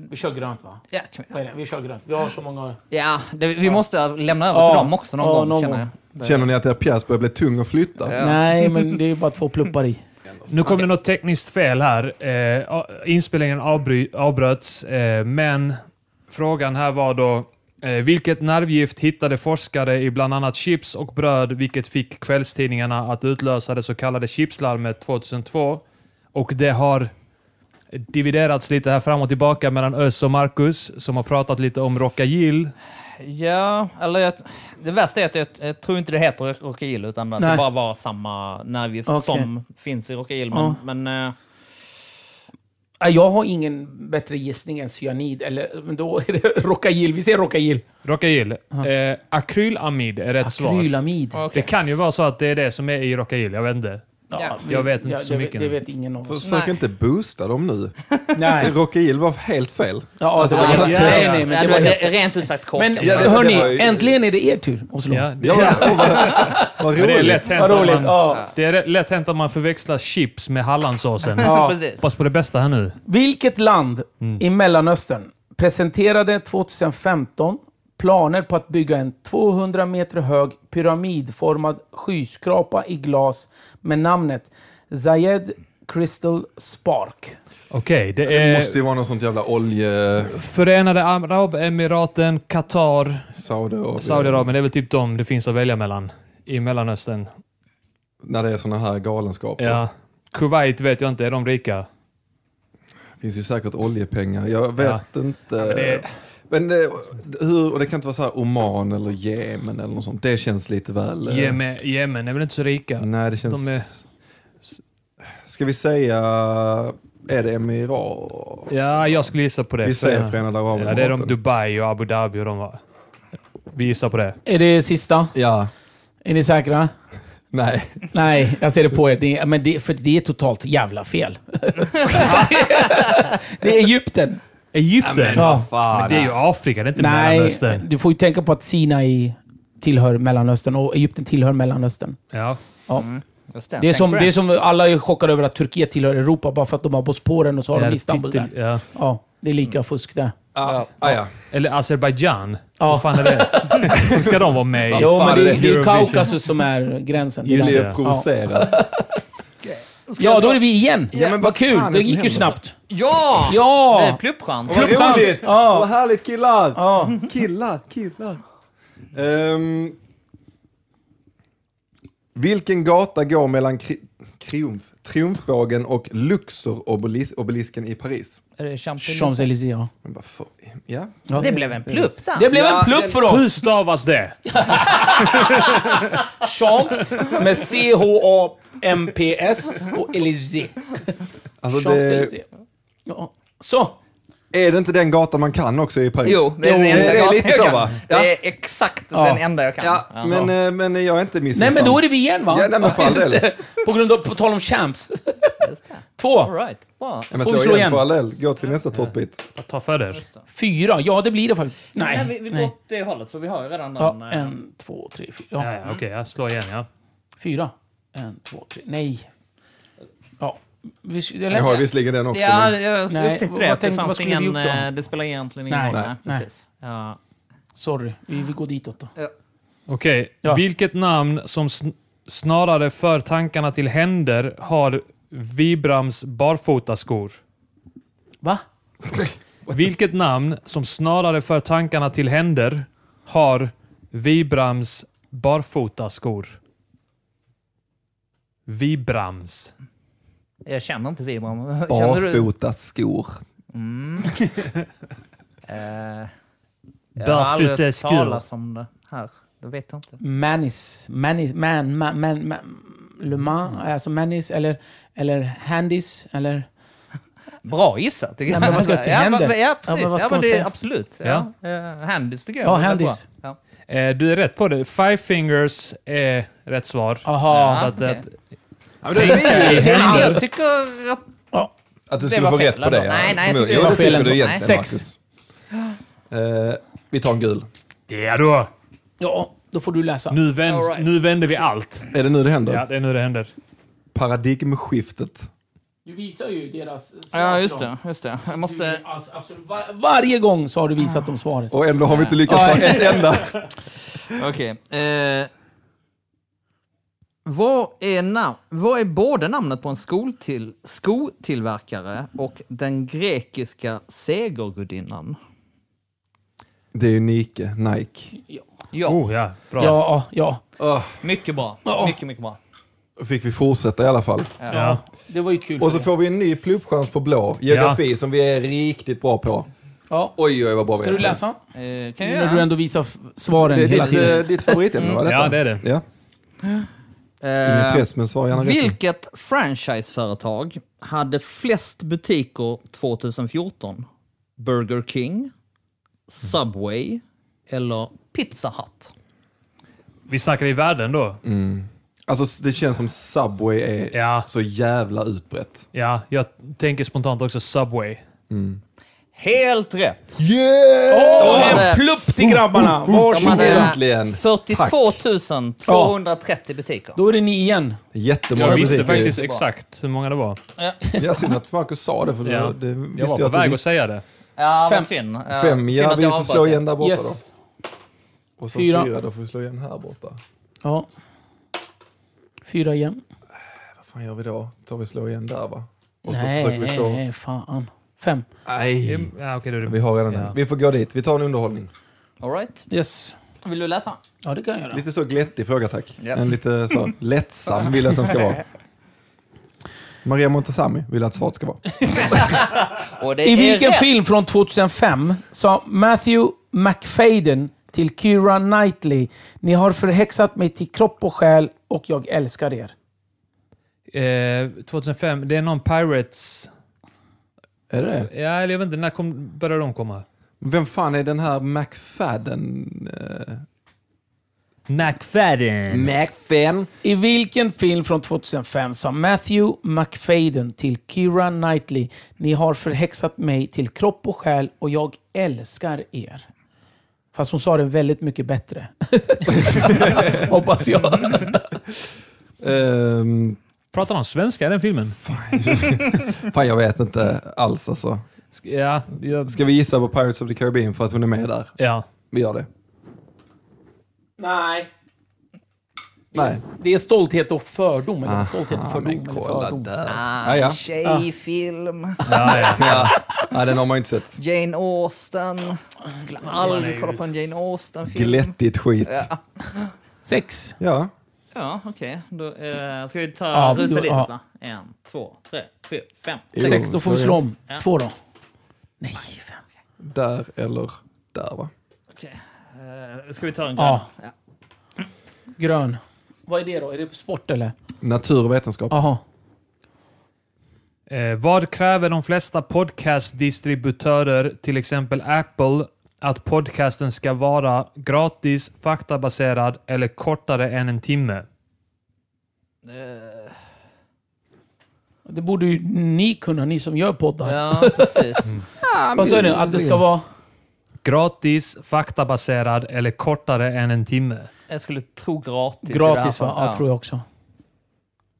S7: Vi kör grönt va?
S6: ja, kan vi-
S7: Vad är det? Vi kör grönt. Vi har så många...
S6: ja, det, vi måste lämna över
S7: Ja.
S6: till dem också någon
S7: Ja,
S6: gång,
S7: någon
S6: känner
S7: gång.
S6: jag.
S4: Känner ni att er pjäs börjar bli tung att flytta?
S7: Nej, men det är ju bara två pluppar i.
S5: Nu kom det något tekniskt fel här. Eh, a- inspelningen avbry- avbröts, eh, men frågan här var då eh, vilket nervgift hittade forskare i bland annat chips och bröd, vilket fick kvällstidningarna att utlösa det så kallade chipslarmet 2002? Och det har dividerats lite här fram och tillbaka mellan Ös och Marcus, som har pratat lite om Rockagill.
S6: Ja, eller jag, det värsta är att jag, jag tror inte det heter Rockagill utan att
S7: Nej.
S6: det bara var samma nervgift
S7: Okej.
S6: som finns i Rockagill. Men,
S7: Ja.
S6: men eh,
S7: Nej, Jag har ingen bättre gissning än cyanid, eller men då är det rockagill. Vi säger rockagill.
S5: Rockagill. Eh, akrylamid är rätt svar.
S7: Akrylamid.
S5: Det kan ju vara så att det är det som är i Rockagill, jag vet inte.
S6: Ja,
S7: vi-
S5: jag vet inte så
S7: det,
S5: mycket
S7: Det
S5: nu.
S7: vet ingen av oss.
S4: Försök
S6: Nej.
S4: inte boosta dem nu.
S7: Nej.
S4: Rockagill var helt fel.
S7: Ja, det var
S6: ja,
S7: helt
S6: ja,
S7: Nej, nej,
S6: ja,
S7: men det
S6: du
S7: var
S6: är
S7: helt...
S6: rent ut sagt kort.
S7: Men
S4: Ja, det- det var
S7: hörni,
S4: ju-
S7: äntligen är det er tur att slå.
S5: Ja, det,
S4: Ja, åh, vad, vad
S5: Men det är
S4: roligt.
S5: lätt hänt
S7: Vad
S5: att
S7: roligt.
S5: man-
S7: Ja.
S5: Det är lätt hänt att man förväxlar chips med Hallandsåsen.
S7: Ja.
S6: Precis.
S5: Hoppas på det bästa här nu.
S7: Vilket land i Mellanöstern presenterade 2015 planer på att bygga en 200 meter hög pyramidformad skyskrapa i glas med namnet Zayed Crystal Spark?
S5: Okej, det
S4: Det
S5: är
S4: måste ju vara något sånt jävla olje...
S5: Förenade Arabemiraten, Qatar,
S4: Saudiarabien.
S5: Saudiarabien. Det är väl typ de det finns att välja mellan i Mellanöstern.
S4: När det är såna här galenskaper.
S5: Ja. Kuwait vet jag inte, är de rika?
S4: Det finns ju säkert oljepengar. Jag vet inte. men
S5: det-
S4: eh, hur, och det kan inte vara så här Oman eller Jemen eller något sånt. Det känns lite väl... eh,
S5: Jemen, Jemen är väl inte så rika?
S4: Nej, det känns...
S5: De är-
S4: Ska vi säga... Är det Emirat?
S5: Ja, jag skulle gissa på det.
S4: Vi säger Förenade Arabemiraten.
S5: Ja, det är de Dubai och Abu Dhabi och de var. Vi gissar på det.
S7: Är det sista?
S4: Ja.
S7: Är ni säkra?
S4: Nej.
S7: Nej, jag ser det på er. Det, men det, för det är totalt jävla fel. det är Egypten.
S5: Egypten?
S7: Ja.
S5: Men det är ju Afrika, det är inte
S7: Nej,
S5: Mellanöstern.
S7: du får ju tänka på att Sinai tillhör Mellanöstern och Egypten tillhör Mellanöstern.
S5: Ja.
S7: Ja.
S6: Just det,
S7: Det, är
S6: tänk
S7: som,
S6: på
S7: det är som alla är chockade över att Turkiet tillhör Europa bara för att de har Bosporen och så har
S5: Ja,
S7: de Istanbul
S5: pyttel-
S7: där.
S5: Ja.
S7: Ja, det är lika fusk där.
S4: Ah, ah, ja.
S5: Eller Azerbajdzjan?
S7: Ja.
S5: Vad fan är det? ska de vara med i?
S7: Jo, men det, är- det är
S5: Eurovision.
S7: Kaukasus som är gränsen. Det är
S5: Just
S7: där.
S4: Blir
S5: det.
S4: provocerad.
S7: Ja, då är vi igen! Ja,
S4: men
S7: Vad
S4: vad
S7: kul!
S4: fan är
S7: Det
S4: det som
S7: gick ju
S4: händer?
S7: snabbt.
S6: Ja! Det är
S7: Ja!
S6: pluppchans.
S4: Vad
S7: Klubbchans.
S4: roligt!
S7: Ja.
S4: Vad härligt killar!
S7: Ja.
S4: Killar, killar. Ehm, vilken gata går mellan kri- triumf, Triumfbågen och Luxor-obelisken i Paris?
S6: Är det Champions League?
S7: Champs-Élysées, ja.
S4: Men vad fan? Ja.
S7: ja.
S6: Det blev en plupp där.
S7: Det blev en plupp för oss!
S5: Hur stavas det?
S7: Champs med C-H-A-M-P-S och Élysées.
S4: Alltså det,
S7: Champs-Élysées. Ja. Så!
S4: är det inte den gatan man kan också i Paris?
S6: Jo, det är, den
S4: det,
S6: enda
S4: är
S6: jag
S4: lite
S6: kan.
S4: så va? Ja,
S6: Det är exakt
S7: Ja.
S6: den enda jag kan.
S4: ja, men, eh, men jag är inte
S7: Nej,
S4: missunnsam.
S7: men då är det vi igen va?
S4: Ja, nej, men för all
S7: Just
S4: del.
S7: det. På grund av, på tal om champs.
S10: Två.
S6: Alright, bra.
S4: Ja, men
S10: Får vi
S4: slå
S10: slå
S4: igen
S10: igen?
S4: på Allel. Gå till nästa tårtbit.
S5: Ta för er.
S10: Fyra. Ja, det blir det faktiskt. Nej.
S6: Nej, vi, vi går
S10: nej.
S6: åt det hållet för vi har ju redan den.
S10: Ja,
S6: eh,
S10: en, två, tre, fyra. Ja,
S5: Ja, ja, Okej, jag slår igen ja.
S10: Fyra. En, två, tre. Nej. Ja. Vi, det
S4: Jag har visserligen den också.
S6: Ja,
S4: men
S6: jag
S10: Nej,
S6: upptäckte
S10: vad
S6: det. att Det
S10: tänkte- vad
S6: fanns
S10: skulle vi
S6: ingen...
S10: gjort då?
S6: eh, Det spelar egentligen ingen
S10: Nej,
S6: roll.
S10: nej, nej.
S6: precis. Ja.
S10: Sorry, vi, vi går ditåt då.
S5: Okej,
S10: Ja.
S5: vilket namn som sn- snarare för tankarna till händer har Vibrams barfotaskor?
S10: Va?
S5: Vilket namn som snarare för tankarna till händer har Vibrams barfotaskor? Vibrams.
S6: Jag känner inte Vibram. Känner du?
S4: Barfota skor.
S6: Mm. Eh, jag har aldrig
S5: Barfota
S6: hört
S5: skor.
S6: talas om det här. Det vet jag inte.
S7: Manis. Manis. Man. Man. man, man Le Mans.
S6: Mm.
S7: Alltså Manis eller, eller Handis. Eller...
S6: Bra gissat. tycker
S7: Ja,
S6: jag.
S7: men vad ska jag till
S6: Ja,
S7: händer?
S6: men- Ja,
S7: Ja,
S6: precis.
S7: men vad ska
S6: ja, men
S7: man
S6: det,
S7: säga?
S6: absolut.
S5: Ja.
S6: Ja. Eh, Handys tycker jag.
S7: Ja,
S6: är väldigt
S7: handys.
S6: bra. Ja.
S5: Eh, du är rätt på det. Five fingers är rätt svar.
S10: Aha.
S5: Så att,
S6: okej.
S5: att,
S4: Ja, men det är ju
S6: Ja, Jag tycker att
S4: att du
S6: Det
S4: skulle
S6: var
S4: få
S6: fel
S4: rätt på
S6: ändå.
S4: det. ja.
S6: Nej, nej, jag
S4: Förmodligen.
S6: tycker
S4: Jo,
S6: det
S4: det
S6: var fel
S4: tycker du
S6: ändå.
S4: egentligen,
S6: Nej.
S4: Marcus. Eh, vi tar en gul.
S5: ja då.
S7: Ja, då får du läsa.
S5: Nu, vänds,
S6: All right.
S5: nu vänder vi allt.
S4: Är det nu det händer?
S5: Ja, det är nu det händer.
S4: Paradigmskiftet.
S7: Du visar ju deras svar
S6: Ja,
S7: till
S6: just
S7: dem.
S6: det. Just det. Jag
S7: Du,
S6: måste...
S7: alltså, absolut, var, varje gång så har du visat dem svaret.
S4: Och ändå har vi inte lyckats ta ett enda.
S6: Okej. Eh, vad, är nam- vad är både namnet på en skoltill- skotillverkare och den grekiska segergudinnan?
S4: Det är ju Nike, Nike.
S6: Ja,
S5: Oh ja, bra.
S7: Ja, ja.
S6: mycket bra. Mycket, mycket bra.
S4: Då fick vi fortsätta i alla fall.
S5: Ja.
S7: Det var ju kul.
S4: Och
S7: för
S4: så
S7: er.
S4: får vi en ny pluppchans på blå. Geografi som vi är riktigt bra på.
S7: Ja.
S4: Oj, oj, vad bra vi
S7: Ska
S4: är
S7: du
S4: på
S7: läsa?
S6: Eh, kan jag
S7: När du
S6: göra?
S7: ändå visar f- svaren
S4: Det är
S7: hela
S4: ditt,
S7: tiden.
S4: eh, ditt favoritämne, va? detta?
S5: Mm. Ja, det är det.
S4: Ja. Ingen press, men svara gärna rätt.
S6: Vilket franchiseföretag hade flest butiker 2014? Burger King, Subway eller Pizza Hut?
S5: Vi snackar i världen då.
S4: Alltså, det känns som Subway är
S5: Ja.
S4: så jävla utbrett.
S5: Ja, jag tänker spontant också Subway.
S6: Helt rätt!
S10: En plupp till grabbarna!
S6: De hade
S10: Varsågoda!
S4: Äntligen.
S6: 42 230 butiker.
S7: Då är det ni igen.
S4: Jättemånga
S5: Jag visste
S4: butiker.
S5: faktiskt exakt hur många det var.
S4: Ja, synd att Marcus sa det, för
S5: Ja.
S4: det det visste
S5: Jag var på
S4: att du
S5: väg att
S4: visste.
S5: säga det.
S6: Ja,
S7: Fem.
S6: vad synd. Ja,
S4: Fem,
S6: synd
S4: ja,
S6: att
S4: vi
S6: jag
S4: får
S6: avbröt
S4: slå
S6: det.
S4: igen där borta
S7: Yes.
S4: då. Och så
S7: Fyra.
S4: fyra. då får vi slå igen här borta.
S7: Ja. Fyra igen.
S4: Vad fan gör vi då? Tar vi slå igen där, va? Och så
S7: Nej,
S4: försöker vi
S7: nej,
S4: slå...
S7: nej, fan. Fem.
S4: Nej.
S5: Ja, okej, då är det
S4: Vi har redan
S5: Ja.
S4: en. Vi får gå dit. Vi tar en underhållning.
S6: All right.
S7: Yes.
S6: Vill du läsa?
S7: Ja, det kan jag göra.
S4: Lite så glättig fråga tack.
S6: Ja.
S4: En lite så lättsam vill jag att den ska vara. Maria Montazami vill att svaret ska vara.
S6: Och det
S7: I
S6: är
S7: vilken
S6: rätt.
S7: film från 2005 sa Matthew McFadden till Keira Knightley Ni har förhäxat mig till kropp och själ och jag älskar er.
S5: Eh, 2005, det är någon Pirates...
S4: Är det det?
S5: Ja, eller jag vet inte, när kom, började de komma?
S4: Vem fan är den här McFadden? eh,
S7: Mm.
S5: McFadden.
S4: McFadden?
S7: I vilken film från 2005 sa Matthew McFadden till Keira Knightley Ni har förhäxat mig till kropp och själ och jag älskar er. Fast hon sa det väldigt mycket bättre.
S10: Hoppas jag.
S4: Ehm,
S5: Pratar de svenska i den filmen?
S4: fan jag vet inte alls alltså.
S5: Sk- Ja, jag,
S4: Ska vi gissa på Pirates of the Caribbean för att hon är med där?
S5: ja.
S4: Vi gör det.
S7: Nej.
S4: Nej.
S7: Det är stolthet och fördom. Eller stolthet och
S4: Ah,
S7: fördom.
S4: men
S7: Eller
S4: kolla
S7: fördom.
S4: där. Ja, ja.
S6: Tjejfilm,
S5: ja, ja.
S4: ja, den har man ju inte sett.
S6: Jane Austen. Skulle aldrig kolla på en Jane Austen-film.
S4: Glättigt skit.
S7: Sex.
S4: Ja.
S6: Ja, okej. Då eh, ska vi ta
S7: Ja,
S6: rusa
S7: då-
S6: dit
S7: ja.
S6: va? En, två, tre, fyra, fem.
S4: Jo,
S7: Sex. Då får vi
S4: så
S7: slå
S4: är
S7: om. Två då. Nej, fem.
S4: det. Där eller där va?
S6: Okej. Eh, ska vi ta en grön?
S7: Ja. Grön. Vad är det då? Är det sport eller?
S4: Natur och vetenskap.
S7: Jaha.
S5: Eh, vad kräver de flesta podcastdistributörer, till exempel Apple, att podcasten ska vara gratis, faktabaserad eller
S6: Eh,
S5: kortare än en timme?
S7: Det borde ju ni kunna, ni som gör poddar.
S6: Ja, precis.
S7: Mm. Vad sa ni? Att det ska vara...
S5: Gratis, faktabaserad eller kortare än en timme.
S6: Jag skulle tro gratis. i det här
S7: Gratis va?
S6: fallet.
S7: Ja, tror jag också.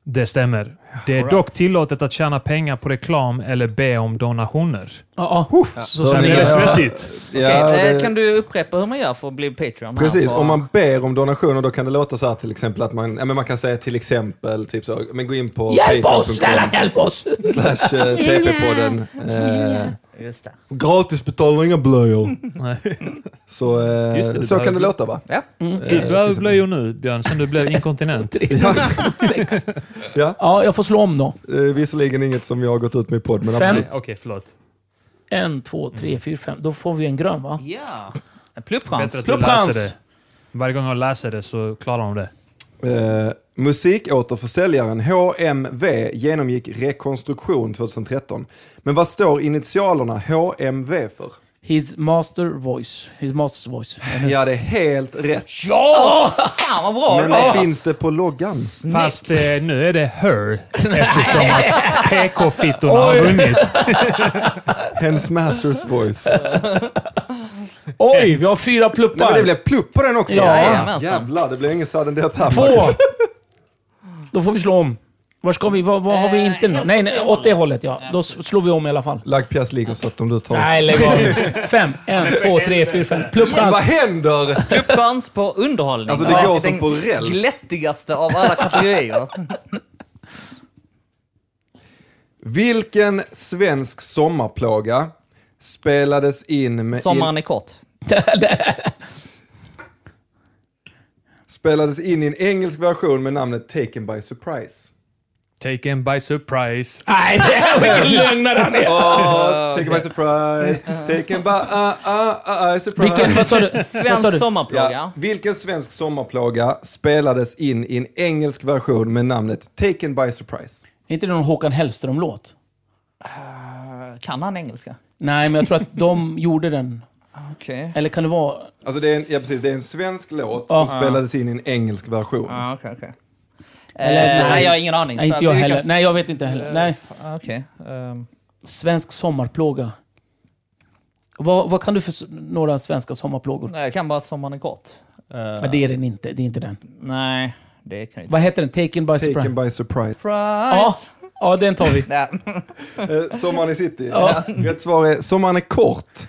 S5: Det stämmer. Det är dock tillåtet att tjäna pengar på reklam eller be om donationer.
S7: Ja, ja.
S5: Så sen blir det svettigt.
S4: Ja,
S6: Okej, eh,
S4: det-
S6: Kan du upprepa hur man gör för att bli Patreon? här
S4: Precis,
S6: på-
S4: om man ber om donationer då kan det låta så här till exempel att man, ja, men man kan säga till exempel typ så, men gå in på
S7: Hjälp
S4: patreon.com
S7: oss! Snälla hjälp oss!
S4: slash eh, TP-podden. Eh,
S6: Just det.
S4: gratis betalar inga blöjor. så eh,
S5: Just det, du
S4: så kan det
S5: behöver-
S4: låta va?
S6: Ja.
S4: Eh,
S5: Du
S4: till
S5: behöver
S4: exempel.
S5: blöjor nu, Björn, sen du blev inkontinent.
S7: Sex.
S4: Ja.
S7: Ja, jag får slå om då.
S4: Eh, visserligen inget som jag har gått ut med i podd, men
S7: Fem.
S4: absolut.
S5: Nej, Okej, förlåt.
S7: En, två, tre, fyra, fem. Då får vi en grön va?
S6: Ja. En
S5: Bättre
S6: pluppchans.
S5: att du
S7: Pluppchans.
S5: läser det. Varje gång jag läser det så klarar de det.
S4: Eh, musikåterförsäljaren HMV genomgick rekonstruktion 2013. Men vad står initialerna HMV för?
S7: His master voice. His master's voice.
S4: Ja, det är helt rätt.
S6: Fan vad bra
S4: Men
S6: det
S4: vad
S6: var.
S4: finns det på loggan?
S5: Fast eh, nu är det her, eftersom att PK-fittorna har vunnit.
S4: Hens Masters Voice.
S7: Oj, vi har fyra pluppar!
S4: Nej, men det blev plupp på den också.
S7: Ja,
S6: jajamensan.
S4: Jävlar, det blev ingen sudden death här.
S7: Två!
S4: Marcus.
S7: Då får vi slå om. Var ska vi? Vad, vad har vi inte Eh, nu? Nej, nej, åt det hållet ja. Då s- slår vi om i alla fall.
S4: Lagpjäs ligger så att om du tar...
S7: Nej, lägg av. Fem, en, två, tre, fyra, fem.
S4: Vad
S7: Pluppchans!
S4: händer?
S6: Pluppchans på underhållning.
S4: Alltså, det
S6: Ja,
S4: går som
S6: den
S4: på räls.
S6: glättigaste av alla kategorier.
S4: Vilken svensk sommarplåga spelades in med...
S6: Sommaren är kort.
S4: spelades in i en engelsk version med namnet Taken by Surprise.
S5: Taken by surprise.
S7: Nej, vilken lögnare han är!
S4: Oh, taken by surprise, taken by uh, uh, uh, surprise.
S7: Vilken, vad sa du? Vad sa
S6: Svensk
S7: du?
S6: sommarplåga.
S4: ja. Vilken svensk sommarplåga spelades in i en engelsk version med namnet Taken by surprise?
S7: Är inte det någon Håkan Hellström-låt?
S6: Kan han engelska?
S7: Nej, men jag tror att de gjorde den.
S6: Okej.
S7: Eller kan det vara...
S4: Alltså det är en, ja, precis, det är en svensk låt som spelades in i en engelsk version.
S6: Ja, okej, okej.
S7: läste
S6: Eh,
S7: det.
S6: Nej, jag har ingen aning.
S7: Nej,
S6: så
S7: inte
S6: att
S7: jag
S6: vi kan
S7: heller.
S6: s-
S7: Nej, jag vet inte heller. Nej.
S6: Ah, Okej. Ehm,
S7: Svensk sommarplåga. Vad, vad kan du för s- några svenska sommarplågor?
S6: nej, jag kan bara Sommaren är kort. Eh,
S7: Ja, det är den inte. Det är inte den.
S6: Nej, det kan jag inte.
S7: Vad heter den? Taken by surprise?
S4: Taken by surprise.
S7: Ja,
S6: Surprise!
S7: ja, den tar vi.
S6: Nej.
S4: Eh, sommaren i city. Rätt svar är Sommaren är kort.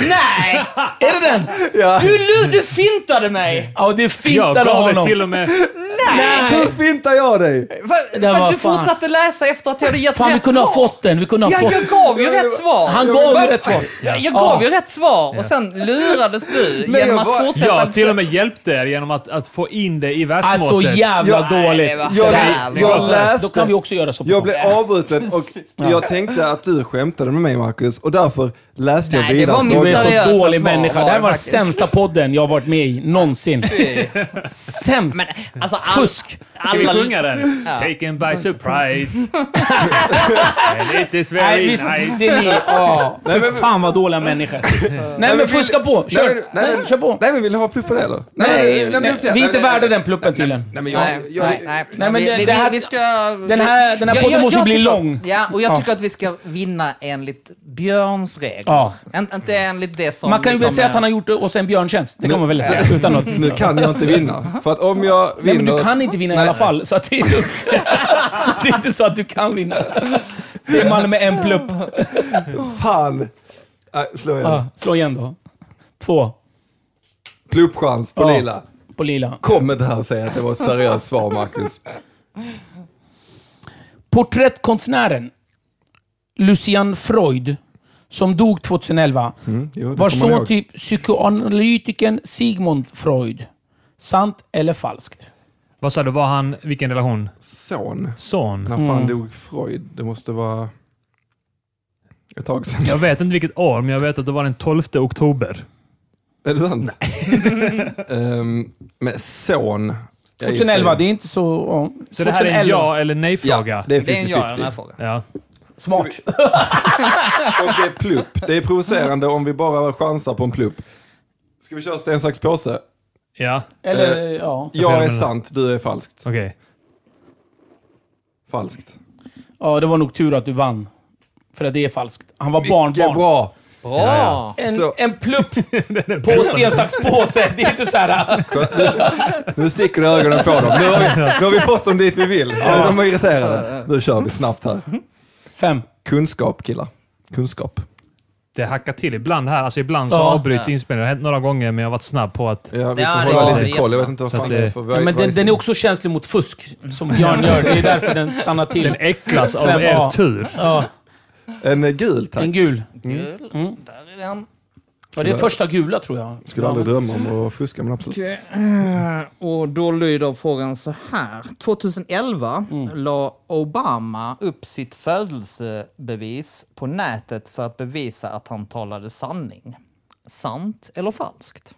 S6: Nej!
S7: Är det den?
S4: Ja.
S6: Du, lu- du fintade mig!
S7: Ja, det
S5: Jag
S7: fintade
S5: gav det
S7: honom.
S5: till och med...
S4: Hur fintar jag dig?
S6: För,
S7: Det
S6: för
S7: var
S6: att du
S7: fan.
S6: fortsatte läsa efter att jag hade gett
S7: Fan, vi
S6: rätt
S7: kunde
S6: svar.
S7: ha fått den. Vi kunde ha
S6: Ja,
S7: fått
S6: jag gav ju rätt svar!
S7: Han gav
S6: Va-
S7: ju rätt svar.
S6: Jag, jag
S7: Ja.
S6: gav ju rätt svar och sen lurades du
S4: Men
S6: genom
S4: jag
S6: att
S4: var-
S6: fortsätta...
S5: Jag till och med hjälpte er genom att, att få in det i världsmåttet.
S7: Alltså jävla
S4: Ja,
S7: dåligt. Alltså,
S6: nej, va.
S4: Jag,
S6: Jävlar.
S4: jag
S7: Då kan
S4: läste
S7: vi också göra så. på
S4: Jag
S7: dem.
S4: blev avbruten och jag tänkte att du skämtade med mig Marcus och därför läste jag
S6: Nej, det
S4: vidare.
S6: var min
S7: Du är
S4: frågan.
S7: en
S6: seriösa
S7: så dålig
S6: svar
S7: människa.
S6: var
S7: Det här
S6: det
S7: var den
S6: faktiskt.
S7: sämsta podden jag har varit med i någonsin. Sämst!
S6: Alltså, all,
S7: Fusk!
S5: Ska vi
S6: Alla,
S5: sjunga den? Taken by surprise. And it is
S7: Nej,
S5: very
S7: vi,
S5: nice.
S7: det är ni. Ja, för fan vad dåliga människor. Nej men
S4: men vi-
S7: fuska på. Kör!
S4: Nej, nej,
S7: Nej, Kör på.
S4: Nej men vill du ha plupp på det eller?
S7: Nej,
S4: men
S7: nej,
S4: plupp det.
S7: vi är
S4: Nej,
S7: inte
S4: nej,
S7: värda
S4: nej.
S7: den pluppen tydligen.
S4: Nej men
S6: Nej,
S4: jag... jag
S6: nej, nej.
S7: Nej, men
S6: vi,
S7: det-
S6: vi,
S7: det här-
S6: vi ska...
S7: Den här, den här
S6: Jag-
S7: podden
S6: jag-
S7: måste
S6: jag
S7: bli
S6: tycker-
S7: lång.
S6: Ja, och jag
S7: Ja.
S6: tycker att vi ska vinna enligt Björns regler.
S7: Ja.
S6: En, inte enligt det som...
S7: Mm. Man kan ju väl
S6: liksom
S7: säga
S6: är-
S7: att han har gjort oss en björntjänst. Det kan man väl säga. Utan något.
S4: Nu kan jag inte vinna. För att om jag
S7: Nej, men
S4: vinner...
S7: du kan inte vinna i alla fall, så att det är lugnt. det är inte så att du kan vinna. Säger mannen med en plupp.
S4: Fan! Nej, slå igen.
S7: Ja, slå igen då. Två
S4: Pluppchans på
S7: Ja.
S4: lila.
S7: på lila.
S4: Kom inte här och säg att det var ett seriöst svar Marcus.
S7: Porträttkonstnären Lucian Freud, som dog 2011,
S4: jo, det
S7: var
S4: kommer jag
S7: son
S4: ihåg.
S7: till typ psykoanalytikern Sigmund Freud. Sant eller falskt?
S5: Vad sa du? Var han... Vilken relation?
S4: Son?
S5: Son?
S4: När fan
S7: Mm.
S4: dog Freud? Det måste vara... Ett tag sedan.
S5: Jag vet inte vilket år, men jag vet att det var den 12 oktober.
S4: Är det sant? Ehm, men son... Jag gissar
S7: 2011,
S4: ju.
S7: det är inte så... ja.
S5: Så det här är en
S7: 2011.
S5: ja eller
S4: Ja,
S5: nej-fråga?
S4: det är
S6: Det är en ja i
S4: 50-50.
S6: den här frågan.
S5: Ja.
S7: Smart.
S4: Och det är plupp. Det är provocerande om vi bara chansar på en plupp. Ska vi köra sten, sax, påse?
S5: Ja, eh,
S7: Eller, ja.
S4: Jag är
S5: menar.
S4: sant, du är falskt.
S5: okej.
S4: Falskt.
S7: Ja, det var nog tur att du vann. För att det är falskt. Han var
S4: Vilket
S7: barnbarn.
S4: bra!
S6: Bra!
S10: En,
S5: alltså.
S4: Så-
S10: en plupp på sten, sax, påse. Det är inte så
S7: äh,
S10: här...
S4: Nu sticker det i ögonen på dem. Nu har, vi, nu har vi fått dem dit vi vill. Ja. De var irriterade. Nu kör vi snabbt här.
S7: Fem.
S4: Kunskap killar. Kunskap.
S5: Det hackar till ibland här. Alltså ibland så
S7: Ja.
S5: avbryts inspelningen. Det har hänt några gånger, men jag har varit snabb på att...
S4: Ja, vi
S6: Ja,
S4: får hålla
S6: det var
S4: lite
S6: jättebra.
S4: koll. Jag vet inte vad
S5: Så
S4: fan
S5: att
S4: det är
S5: det-
S4: för...
S10: Ja,
S4: vad-
S10: men
S4: vad
S10: den, den är också känslig mot fusk, som Björn gör. Det är därför den stannar till.
S5: Den äcklas av
S7: Fem
S5: er
S7: A.
S5: tur. Mm.
S7: Ja,
S4: En eh, gul tack.
S7: en gul. Mm.
S6: Gul. Där är den.
S7: Ja, det är första gula tror jag.
S4: Skulle aldrig drömma om att fuska, men absolut.
S6: Okej, eh, Och då lyder frågan så här. 2011
S7: Mm.
S6: la Obama upp sitt födelsebevis på nätet för att bevisa att han talade sanning. Sant eller falskt?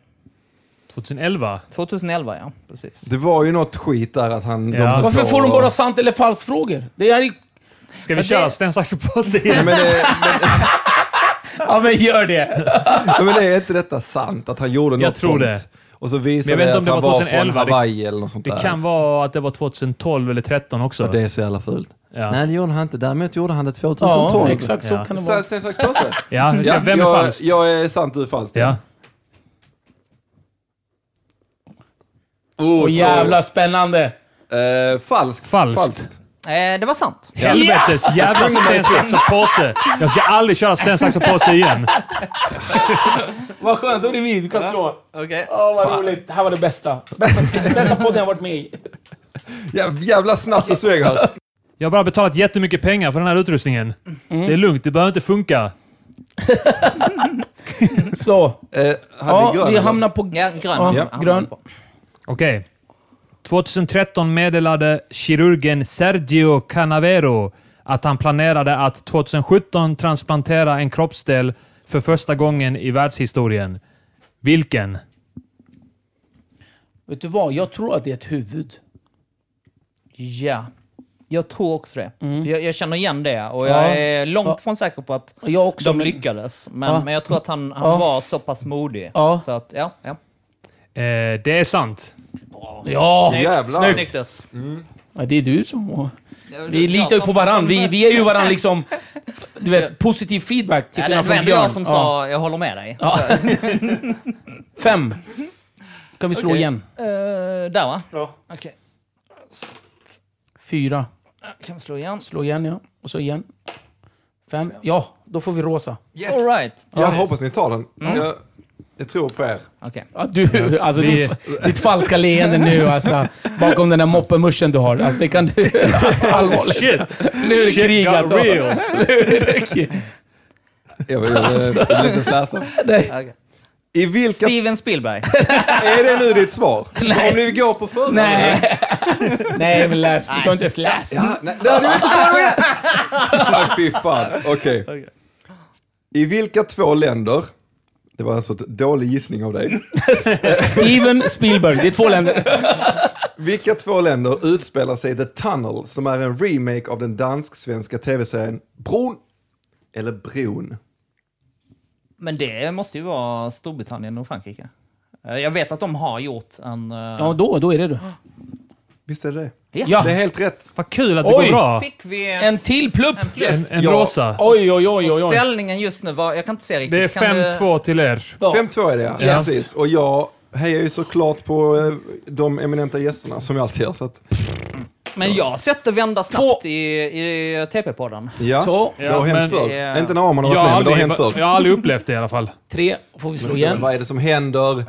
S5: 2011.
S6: 2011, ja. Precis.
S4: Det var ju något skit där att han...
S5: Ja.
S4: höll
S7: Varför
S4: på
S7: får de
S4: och-
S7: bara sant eller falskt frågor? Det är ju...
S5: Ska vi
S6: det-
S5: köra sten, sax, påse
S4: Ja,
S5: igen?
S4: Men det,
S10: Ja, men gör det!
S4: ja, men det är inte detta sant? Att han gjorde något
S5: Jag tror
S4: sånt?
S5: det.
S4: Och så visade
S5: Men jag vet
S4: det
S5: inte
S4: att han
S5: om det var
S4: var från
S5: 2011. Det-
S4: Hawaii eller något sånt
S5: Det
S4: där.
S5: kan vara att det var 2012 eller 2013 också.
S4: Och det är så jävla fult.
S5: Ja.
S4: Nej, det gjorde han inte. Däremot gjorde han det 2012.
S7: Ja, exakt så
S5: Ja.
S7: kan det vara.
S4: Sen, sen slags påse.
S5: Ja, nu kör- vem är
S4: jag,
S5: falskt?
S4: jag är sant, du är falskt.
S5: Ja.
S4: Oh,
S7: Åh jävla spännande!
S4: Eh, falskt.
S5: Falskt.
S6: Eh, det var sant.
S5: Helvetes jävla sten, sax och påse. Jag ska aldrig köra sten, sax och påse igen.
S10: Vad skönt, då är det vi. Du kan slå.
S6: Okej.
S10: Åh, vad roligt. Det här var det bästa. Bästa, bästa podden jag varit med i.
S4: Ja, jävla snabbt och sveg här.
S5: Jag har bara betalat jättemycket pengar för den här utrustningen. Det är lugnt, det behöver inte funka.
S7: Så.
S4: Eh, han är
S7: Ja,
S4: grön,
S7: vi
S4: eller?
S7: hamnar på...
S6: Ja, grön.
S7: Ja, grön.
S5: Okej. 2013 meddelade kirurgen Sergio Canavero att han planerade att 2017 transplantera en kroppsdel för första gången i världshistorien. Vilken?
S7: Vet du vad? Jag tror att det är ett huvud.
S6: Ja. Jag tror också det. Jag, jag känner igen det och jag
S7: Mm. Ja.
S6: är långt
S7: Ja.
S6: från säker på att
S7: Och Jag också.
S6: de
S7: men-
S6: lyckades. Men,
S7: Ja.
S6: men jag tror att han, han
S7: Ja.
S6: var så pass modig.
S7: Ja.
S6: Så att, ja. ja.
S5: Eh, det är sant.
S7: Ja!
S4: Jävlar.
S6: Snyggt. Snyggt.
S7: Ja, Det är du som... Vi litar ju på varandra. Vi, vi är ju varandra liksom... Du vet, positiv feedback till
S6: Ja, det
S7: skillnad
S6: var
S7: från
S6: ändå
S7: Björn.
S6: jag som
S7: Ja.
S6: sa jag håller med dig.
S7: Ja. Fem. Kan vi slå igen?
S6: Eh, där va?
S7: Ja.
S6: Okej,
S7: Fyra.
S6: kan vi slå igen?
S7: Slå igen, ja. Och så igen. Fem. Ja, då får vi rosa.
S4: Yes.
S6: All right.
S4: Jag hoppas ni tar den.
S5: Mm.
S4: Jag, jag tror på er.
S6: Okej.
S7: Ja, du, alltså,
S5: Vi-
S7: ditt, ditt falska leende nu alltså. Bakom den där moppemuschen du har. Alltså, det kan du... Alltså, allvarligt.
S5: Shit!
S7: Nu är det
S5: Shit
S7: krig
S5: got
S7: alltså.
S5: real!
S4: Jag vill alltså. lite släsa.
S6: Okej.
S4: I vilka...
S6: Steven Spielberg.
S4: Är det nu ditt svar? Om ni går på förhand.
S7: Nej. Nej, men läs. Du kan inte ens läsa.
S4: Ja, nej, det hade vi inte förberett! Nej, fy fan. Okej. I vilka två länder, det var alltså ett dålig gissning av dig,
S7: Steven Spielberg. Det är två länder.
S4: vilka två länder utspelar sig The Tunnel som är en remake av den dansk-svenska tv-serien Bron eller Bron?
S6: Men det måste ju vara Storbritannien och Frankrike. Eh, Jag vet att de har gjort en... eh,
S7: Ja, då, då är det du.
S4: Visst är det det?
S7: Ja.
S4: Det är helt rätt.
S5: Vad kul att det
S7: Oj.
S5: går bra.
S6: Fick vi...
S7: En till plupp!
S5: En, en
S4: Ja.
S5: rosa.
S7: Oj, oj, oj, oj.
S6: Och
S7: oj.
S6: ställningen just nu var... Jag kan inte se riktigt.
S5: Det är
S6: Kan du-
S5: 5-2 till er.
S7: Ja.
S4: 5-2 är det ja.
S5: Yes.
S4: Precis. Och jag hejar ju såklart på eh, de eminenta gästerna som jag alltid gör. Så att,
S6: Men jag har sett det vända snabbt i, i TP-podden.
S4: ja.
S7: Så,
S4: Det har hänt
S5: men-
S4: förr.
S6: Ja.
S4: Inte när Arman har
S5: Jag
S4: varit
S5: har,
S4: med, men det har
S5: aldrig,
S4: hänt förr.
S5: jag har aldrig upplevt det i alla fall.
S7: tre. Får vi slå igen?
S4: Vad är det som händer?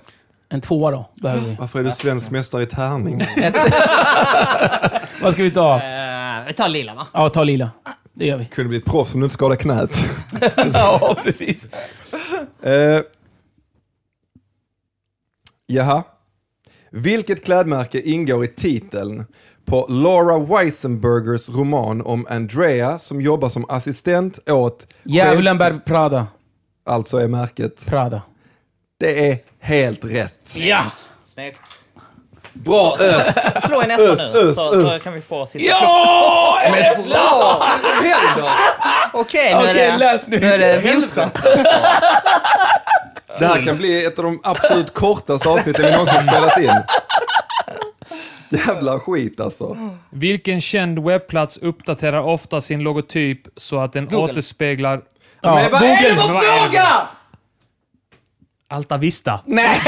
S7: En tvåa då, behöver vi.
S4: Varför är du svensk mästare i tärning?
S7: Vad ska vi ta?
S6: Eh, Vi tar lila va?
S7: Ja, ta lila. Det gör vi.
S4: Kunde bli ett proffs om du inte skadade knät.
S10: Ja, precis.
S4: Eh, jaha. Vilket klädmärke ingår i titeln på Laura Weisenbergers roman om Andrea som jobbar som assistent åt...
S7: Djävulen
S4: chefs-
S7: bär Prada.
S4: Alltså är märket.
S7: Prada.
S4: Det är helt rätt.
S7: Ja!
S6: Snyggt.
S4: Bra Ös!
S6: Slå en etta nu,
S4: Ös, ös,
S6: så,
S4: ös.
S6: så kan vi få sitt...
S10: Ja!
S4: Bra! Vad är det som händer?
S6: Okej, nu,
S10: Okej,
S6: är det,
S10: läs nu.
S6: nu är det vinstchans.
S4: Det här kan bli ett av de absolut kortaste avsnitten vi någonsin spelat in. Jävla skit alltså.
S5: Vilken känd webbplats uppdaterar ofta sin logotyp så att den återspeglar
S7: Ja,
S4: Men vad är det för fråga?
S5: Alta Vista?
S10: Nej!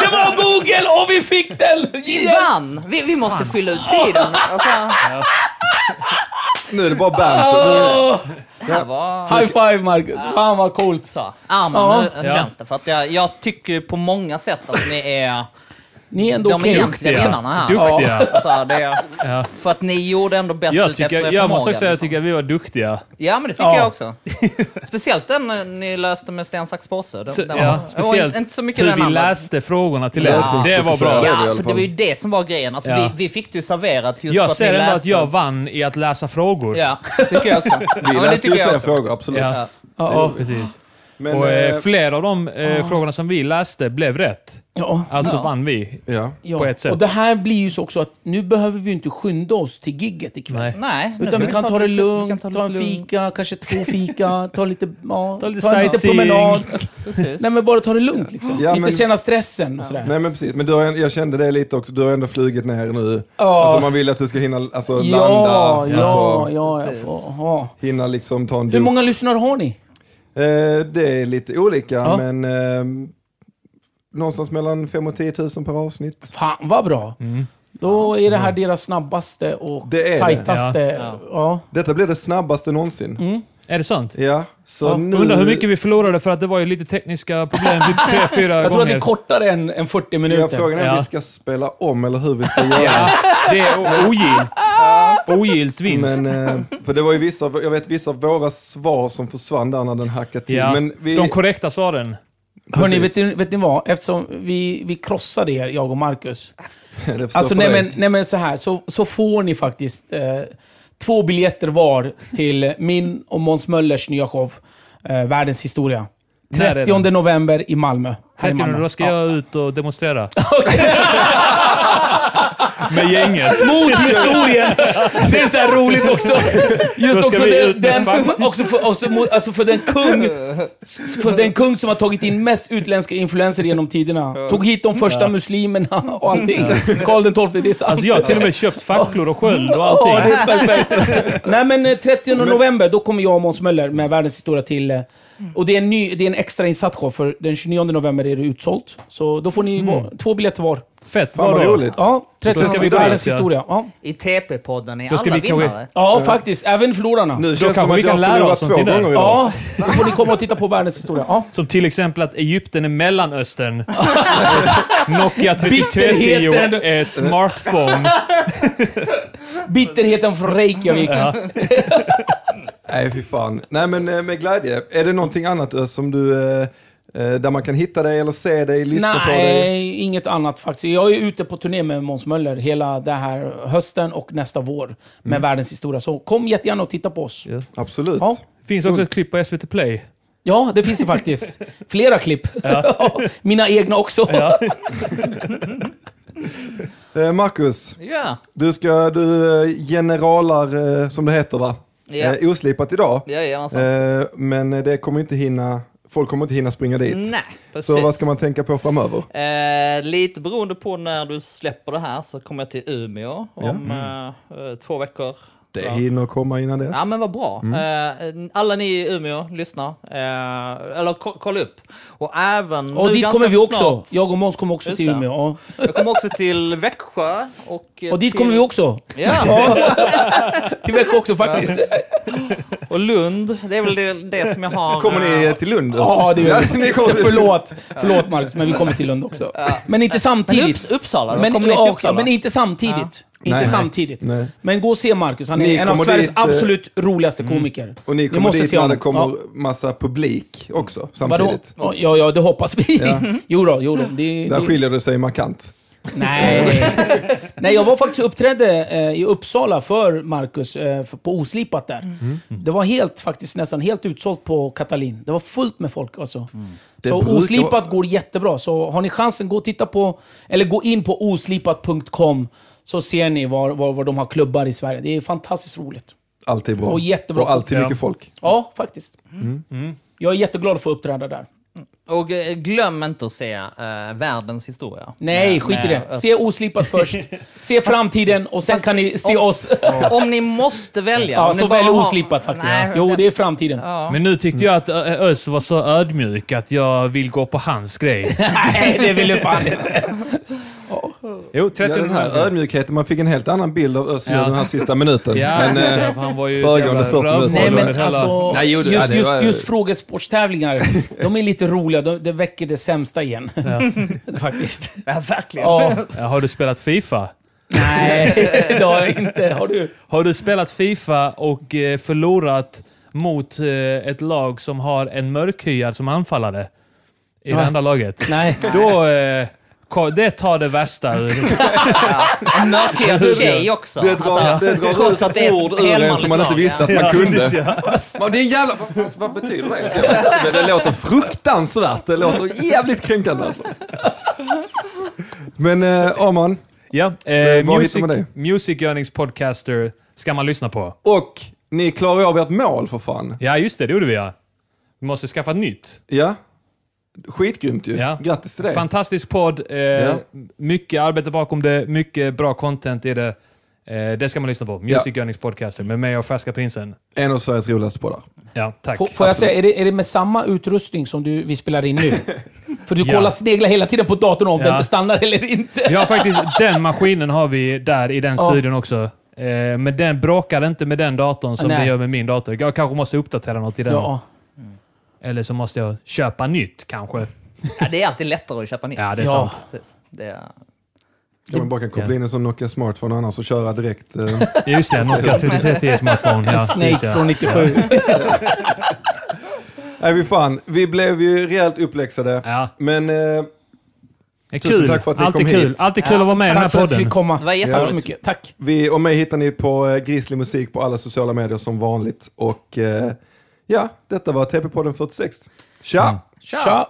S10: Det var Google och vi fick den!
S6: Vi
S10: Yes!
S6: vann! Vi, vi måste fylla ut tiden. Alltså,
S4: Nu är det bara banter.
S10: Åh,
S6: det här var...
S10: high five Marcus! Fan vad coolt!
S6: Så, Arman,
S10: Ja.
S6: nu känns det. För att jag, jag tycker på många sätt att ni är
S10: Ni är ändå
S6: de
S10: okej.
S6: egentliga vinnarna här.
S5: Duktiga.
S6: Alltså, det är, För att ni gjorde ändå bäst
S5: Jag,
S6: ut efter
S5: tycker,
S6: er
S5: jag
S6: förmåga,
S5: måste också säga att jag
S6: liksom.
S5: tycker att vi var duktiga.
S6: Ja, men det tycker
S10: Ja.
S6: jag också. Speciellt den eh, ni löste med sten, sax, påse. Den,
S5: Så,
S6: den
S5: ja,
S6: var- och
S5: speciellt
S6: inte, inte så mycket
S5: hur
S6: den
S5: vi
S6: andra.
S5: läste frågorna till
S4: Ja.
S5: er. Det var
S4: Ja,
S5: bra.
S4: i alla
S6: Ja, för det
S4: fall.
S6: var ju det som var grejen. Alltså,
S5: Ja.
S6: vi, vi fick det ju serverat just för
S5: Jag
S6: att vi
S5: ser
S6: läste.
S5: ändå att jag vann i att läsa frågor.
S6: Ja, tycker jag också. Ja, men
S4: Vi
S6: det
S4: läste ju
S6: tycker jag
S4: fler
S6: också.
S4: frågor, absolut.
S5: Ja.
S10: Ja,
S5: Precis.
S4: Men,
S5: Och eh,
S4: eh,
S5: flera av de eh, frågorna som vi läste blev rätt.
S7: Ja.
S5: Alltså vann vi.
S4: ja.
S7: Ja.
S5: På ett sätt.
S7: Och det här blir ju så också att nu behöver vi ju inte skynda oss till gigget ikväll.
S5: Nej.
S6: Nej, nu
S7: Utan vi kan ta det
S6: lite- vi kan
S7: lugnt,
S6: ta
S7: ta,
S6: det
S7: en
S6: lugnt.
S7: fika, kanske två fika, ta lite, ja,
S5: Ta lite
S7: liten
S5: sightseeing.
S7: promenad.
S6: Precis.
S7: Nej men bara ta det lugnt liksom.
S4: Ja,
S7: inte
S4: men-
S7: känna stressen och sådär.
S4: Nej men precis, men du har, jag kände det lite också, du har ändå flugit ner nu.
S7: Ja.
S4: Alltså man vill att du ska hinna alltså,
S7: ja,
S4: landa,
S7: ja,
S4: alltså,
S7: ja, jag får, ja.
S4: hinna liksom ta en
S7: Hur
S4: dusch.
S7: många lyssnare har ni?
S4: Eh, det är lite olika,
S7: Ja.
S4: men eh, någonstans mellan 5 och 10 000 per avsnitt.
S7: Fan vad bra!
S5: Mm.
S7: Då är det här deras snabbaste och
S4: Det är det.
S7: tajtaste.
S5: Ja.
S7: Ja.
S4: Detta blir det snabbaste någonsin.
S5: Är det sant?
S4: Ja, så
S7: Ja,
S4: nu...
S5: Mm. Undrar hur mycket vi förlorade för att det var ju lite tekniska problem vid tre, fyra
S7: Jag tror
S5: gånger.
S7: att det är kortare än, än 40
S4: Ja,
S7: minuter.
S4: frågan är om
S5: Ja.
S4: vi ska spela om eller hur vi ska göra.
S5: Ja, det är o- ogilt. Ogilt vinst.
S4: Men, eh, för det var ju vissa, jag vet vissa av våra svar som försvann där när den hackade till.
S5: ja.
S4: Men vi,
S5: De korrekta svaren.
S7: Hörni,
S4: Precis.
S7: vet ni, vet ni vad? Eftersom vi, vi krossade er, jag och Marcus.
S4: det förstår för
S7: Alltså, nej
S4: dig.
S7: men, nej men så här, så, så får ni faktiskt eh, två biljetter var till min och Måns Möllers nya show, eh, Världens historia.
S5: När är den?
S7: 30 november i Malmö. Här i
S5: Här
S7: Malmö.
S5: då ska
S7: Ja.
S5: jag ut och demonstrera. Med gänget.
S10: Mot historien! Det är så här roligt också.
S5: Då
S10: Just
S5: ska
S10: också,
S5: vi ut
S10: den,
S5: med
S10: den, också, för, också mot, alltså för den kung för den kung som har tagit in mest utländska influenser genom tiderna. Tog hit de första muslimerna och allting. Karl XII, det är sant.
S5: Alltså jag har till och med köpt facklor och sköld och
S10: Ja, det
S5: allting.
S10: är perfekt. Nej men eh, 30 november, då kommer jag och Måns Möller med Världens historia till... eh, Och det är en, ny, det är en extra insatt show, för den 29 november är det utsålt. Så då får ni
S5: Mm.
S10: vara- två biljetter var.
S5: Fett
S4: Fan
S5: var
S4: vad
S5: då.
S4: roligt.
S7: Ja, 30
S5: Då ska vi
S7: november,
S5: gå
S7: Världens
S5: dit, ja.
S7: historia. Ja.
S6: I TP-podden är
S5: Då ska
S6: alla
S5: vi kanske-
S6: vinnare.
S7: Ja, faktiskt. Även förlorarna.
S4: Nu
S5: Då
S4: känns det som
S5: kanske
S4: att
S5: vi
S4: jag
S5: kan lära
S4: har förlorat
S5: oss
S4: två
S5: någonting där.
S4: gånger idag.
S7: Ja, så får ni komma och titta på Världens historia. Ja.
S5: Som till exempel att Egypten är Mellanöstern. Nokia 3310
S10: Bitterheten.
S5: är smartphone.
S7: Bitterheten från Reykjavik.
S4: Nej, fy fan. Nej, men eh, med glädje. Är det någonting annat Ö, som du... eh, eh, Där man kan hitta dig eller se dig, lyssna på dig?
S7: Nej, inget annat faktiskt. Jag är ute på turné med Måns Möller hela den här hösten och nästa vår
S5: Mm.
S7: med Världens historia. Så kom jättegärna och titta på oss.
S4: Absolut.
S7: Ja.
S5: Finns också ett klipp på SVT Play.
S7: Ja, det finns det faktiskt. Flera klipp. Mina egna också.
S4: Eh, Marcus,
S6: Ja.
S4: du ska... Du eh, generalar, eh, som det heter va?
S6: Ja. alltså.
S4: Eh, Oslipat idag.
S6: Jajamensan.
S4: Eh, Men det kommer inte hinna... Folk kommer inte hinna springa dit.
S6: Nej, precis.
S4: Så vad ska man tänka på framöver?
S6: Eh, lite beroende på när du släpper det här så kommer jag till Umeå om eh, eh, två veckor.
S4: Mm. Det Mm. hinner komma innan dess.
S6: Ja men vad bra. Eh, alla ni i Umeå, lyssna. Eh, eller ko- kolla upp. Och även
S7: Och
S6: nu
S7: dit
S6: ganska
S7: kommer vi också.
S6: snart-
S7: Jag och Måns kommer också
S6: Just
S7: till
S6: det.
S7: Umeå. Ja.
S6: Jag kommer också till Växjö. Och, eh,
S7: Och
S6: till...
S7: dit kommer vi också.
S6: Ja,
S7: Till Växjö också faktiskt.
S6: och Lund. Det är väl det, det som jag har.
S4: Kommer ni
S6: eh,
S4: eh, till Lund?
S7: Ja, det gör vi.
S4: ni
S7: Just
S4: kommer-
S7: det, Förlåt. Förlåt Marcus, men vi kommer till Lund också. Men inte
S6: Men
S7: samtidigt.
S6: Upps- Uppsala då?
S7: Men,
S6: kommer ni till
S7: ja,
S6: Uppsala?
S7: men inte samtidigt. Inte
S4: Nej.
S7: samtidigt.
S4: Nej.
S7: Men gå och se Marcus. Han är
S4: Ni
S7: en av
S4: kommer
S7: Sveriges
S4: dit, eh,
S7: absolut roligaste komiker.
S4: Och ni kommer
S7: måste
S4: dit
S7: se
S4: när
S7: honom.
S4: det kommer
S7: Ja.
S4: massa publik också
S7: Vadå?
S4: samtidigt.
S7: Ja, ja, det hoppas vi.
S4: Ja.
S7: jo då, jo då. Det,
S4: Där
S7: det,
S4: skiljer du sig markant.
S7: Nej. Nej, jag var faktiskt och uppträdde eh, i Uppsala för Marcus eh, för, på Oslipat där.
S10: Mm.
S7: Det var helt, faktiskt nästan helt utsålt på Katalin. Det var fullt med folk alltså.
S10: Mm.
S7: Så
S4: brukar
S7: Oslipat
S4: vara-
S7: går jättebra. Så har ni chansen, gå och titta på, eller gå in på oslipat.com så ser ni var, var, var de har klubbar i Sverige. Det är fantastiskt roligt.
S10: Mm.
S4: Alltid bra.
S7: Och jättebra.
S4: Och alltid
S5: Ja.
S4: mycket folk.
S10: Mm.
S7: Ja, faktiskt. Jag är jätteglad att få uppträda där.
S6: Och eh, glöm inte att se eh, världens historia.
S10: Nej, alltså. skit i det. Se oslipat först. Se framtiden och sen kan ni se oss.
S6: Om ni måste välja.
S10: Ja,
S6: om ni
S10: så
S6: bara
S10: välj
S6: har-
S10: oslipat faktiskt.
S6: Nej,
S10: Jo, det är framtiden.
S5: Men nu tyckte jag att Ö- Ös var så ödmjuk att jag vill gå på hans grej.
S10: Nej, det vill du fan inte.
S5: Jo, 30
S4: Ja, den här ödmjukheten, man fick en helt annan bild av Özil
S5: Ja.
S4: den här sista minuten.
S5: Ja, Alltså,
S4: Men, eh,
S5: så han var ju
S4: föregående
S5: ett jävla
S4: 40 minuter.
S10: Nej,
S5: rövhål
S10: men
S5: under hela-
S10: alltså,
S4: Nej, jo, det- ja,
S10: just,
S4: det var-
S10: just, just frågesportstävlingar, de är lite roliga. De, det väcker det sämsta igen. Faktiskt.
S6: Ja, verkligen.
S10: Ja.
S5: Ja, Har du spelat Fifa?
S10: Nej, det har jag inte. Har du?
S5: Har du spelat Fifa och eh, förlorat mot eh, ett lag som har en mörkhyad som anfallare i det
S10: Nej.
S5: andra laget?
S10: Nej.
S5: Då... Eh, ko- det tar det värsta ur...
S6: En mörkhyad tjej också.
S4: Det drar,
S6: Alltså,
S4: det drar
S6: trots
S4: ut
S6: att det är ett
S4: ord ur en
S6: helmanligt
S4: som man inte
S6: lag,
S4: visste
S6: ja.
S4: att man kunde.
S5: ja.
S4: Men det är en jävla... Vad, vad betyder det egentligen? Men Det låter fruktansvärt. Det låter jävligt kränkande alltså. Men eh, Arman
S5: ja
S4: Men
S5: eh,
S4: var
S5: music,
S4: hittar man dig?
S5: music Earnings Podcaster ska man lyssna på.
S4: och ni klarar ju av ert mål för fan.
S5: Ja, just det. Det gjorde vi ja. Vi måste skaffa ett nytt.
S4: Ja. Skitgrymt ju.
S5: Ja.
S4: Grattis till det.
S5: Fantastisk podd. Eh,
S4: Ja.
S5: Mycket arbete bakom det. Mycket bra content i det. Eh, det ska man lyssna på. Music Earnings Podcaster med mig och Färska Prinsen.
S4: En av Sveriges roligaste poddar.
S5: Ja, tack.
S10: Får, får jag säga, är det, är det med samma utrustning som du, vi spelar in nu? För du
S5: Ja.
S10: kollar, sneglar hela tiden på datorn om
S5: Ja.
S10: den stannar eller inte.
S5: Vi har faktiskt den maskinen har vi där i den
S10: Ja.
S5: studion också. Eh, men den bråkar inte med den datorn som
S10: Nej.
S5: det gör med min dator. Jag kanske måste uppdatera något i den.
S10: Ja.
S5: Eller så måste jag köpa nytt kanske.
S6: Ja, det är alltid lättare att köpa nytt.
S5: Ja, det är
S10: Ja.
S5: sant.
S6: Precis. Det är...
S4: Ja, man bara kan koppla
S5: Ja.
S4: in en sån Nokia Smartphone annars och köra direkt. Eh.
S5: Ja, Just det, Nokia 3310 smartphone. Ja, just
S10: Snake
S5: det.
S10: från 97.
S4: Nej, vi fan. Vi blev ju rejält uppläxade.
S5: Ja.
S4: Men eh,
S5: Det är
S4: Tusen
S5: kul.
S4: tack för att ni
S5: Alltid
S4: kom
S5: kul.
S4: hit.
S5: Alltid kul att vara med i den här
S10: Tack för att du
S5: podden.
S10: fick komma.
S6: Det var jätteroligt.
S10: Tack så mycket. Tack.
S4: Vi, och mig hittar ni på eh, Grizzly Musik på alla sociala medier som vanligt. Och eh, ja, detta var TP-podden 46. Tja!
S10: Tja.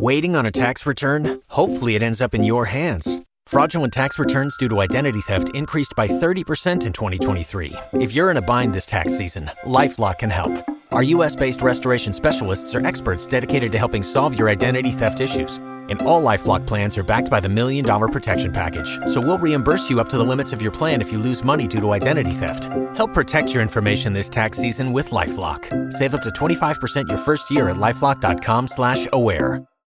S11: Waiting on a tax return? Hopefully, it ends up in your hands. Fraudulent tax returns due to identity theft increased by 30% in 2023. If you're in a bind this tax season, LifeLock can help. Our U.S. based restoration specialists are experts dedicated to helping solve your identity theft issues. And all LifeLock plans are backed by the Million Dollar Protection Package. So we'll reimburse you up to the limits of your plan if you lose money due to identity theft. Help protect your information this tax season with LifeLock. Save up to 25% your first year at LifeLock.com slash aware.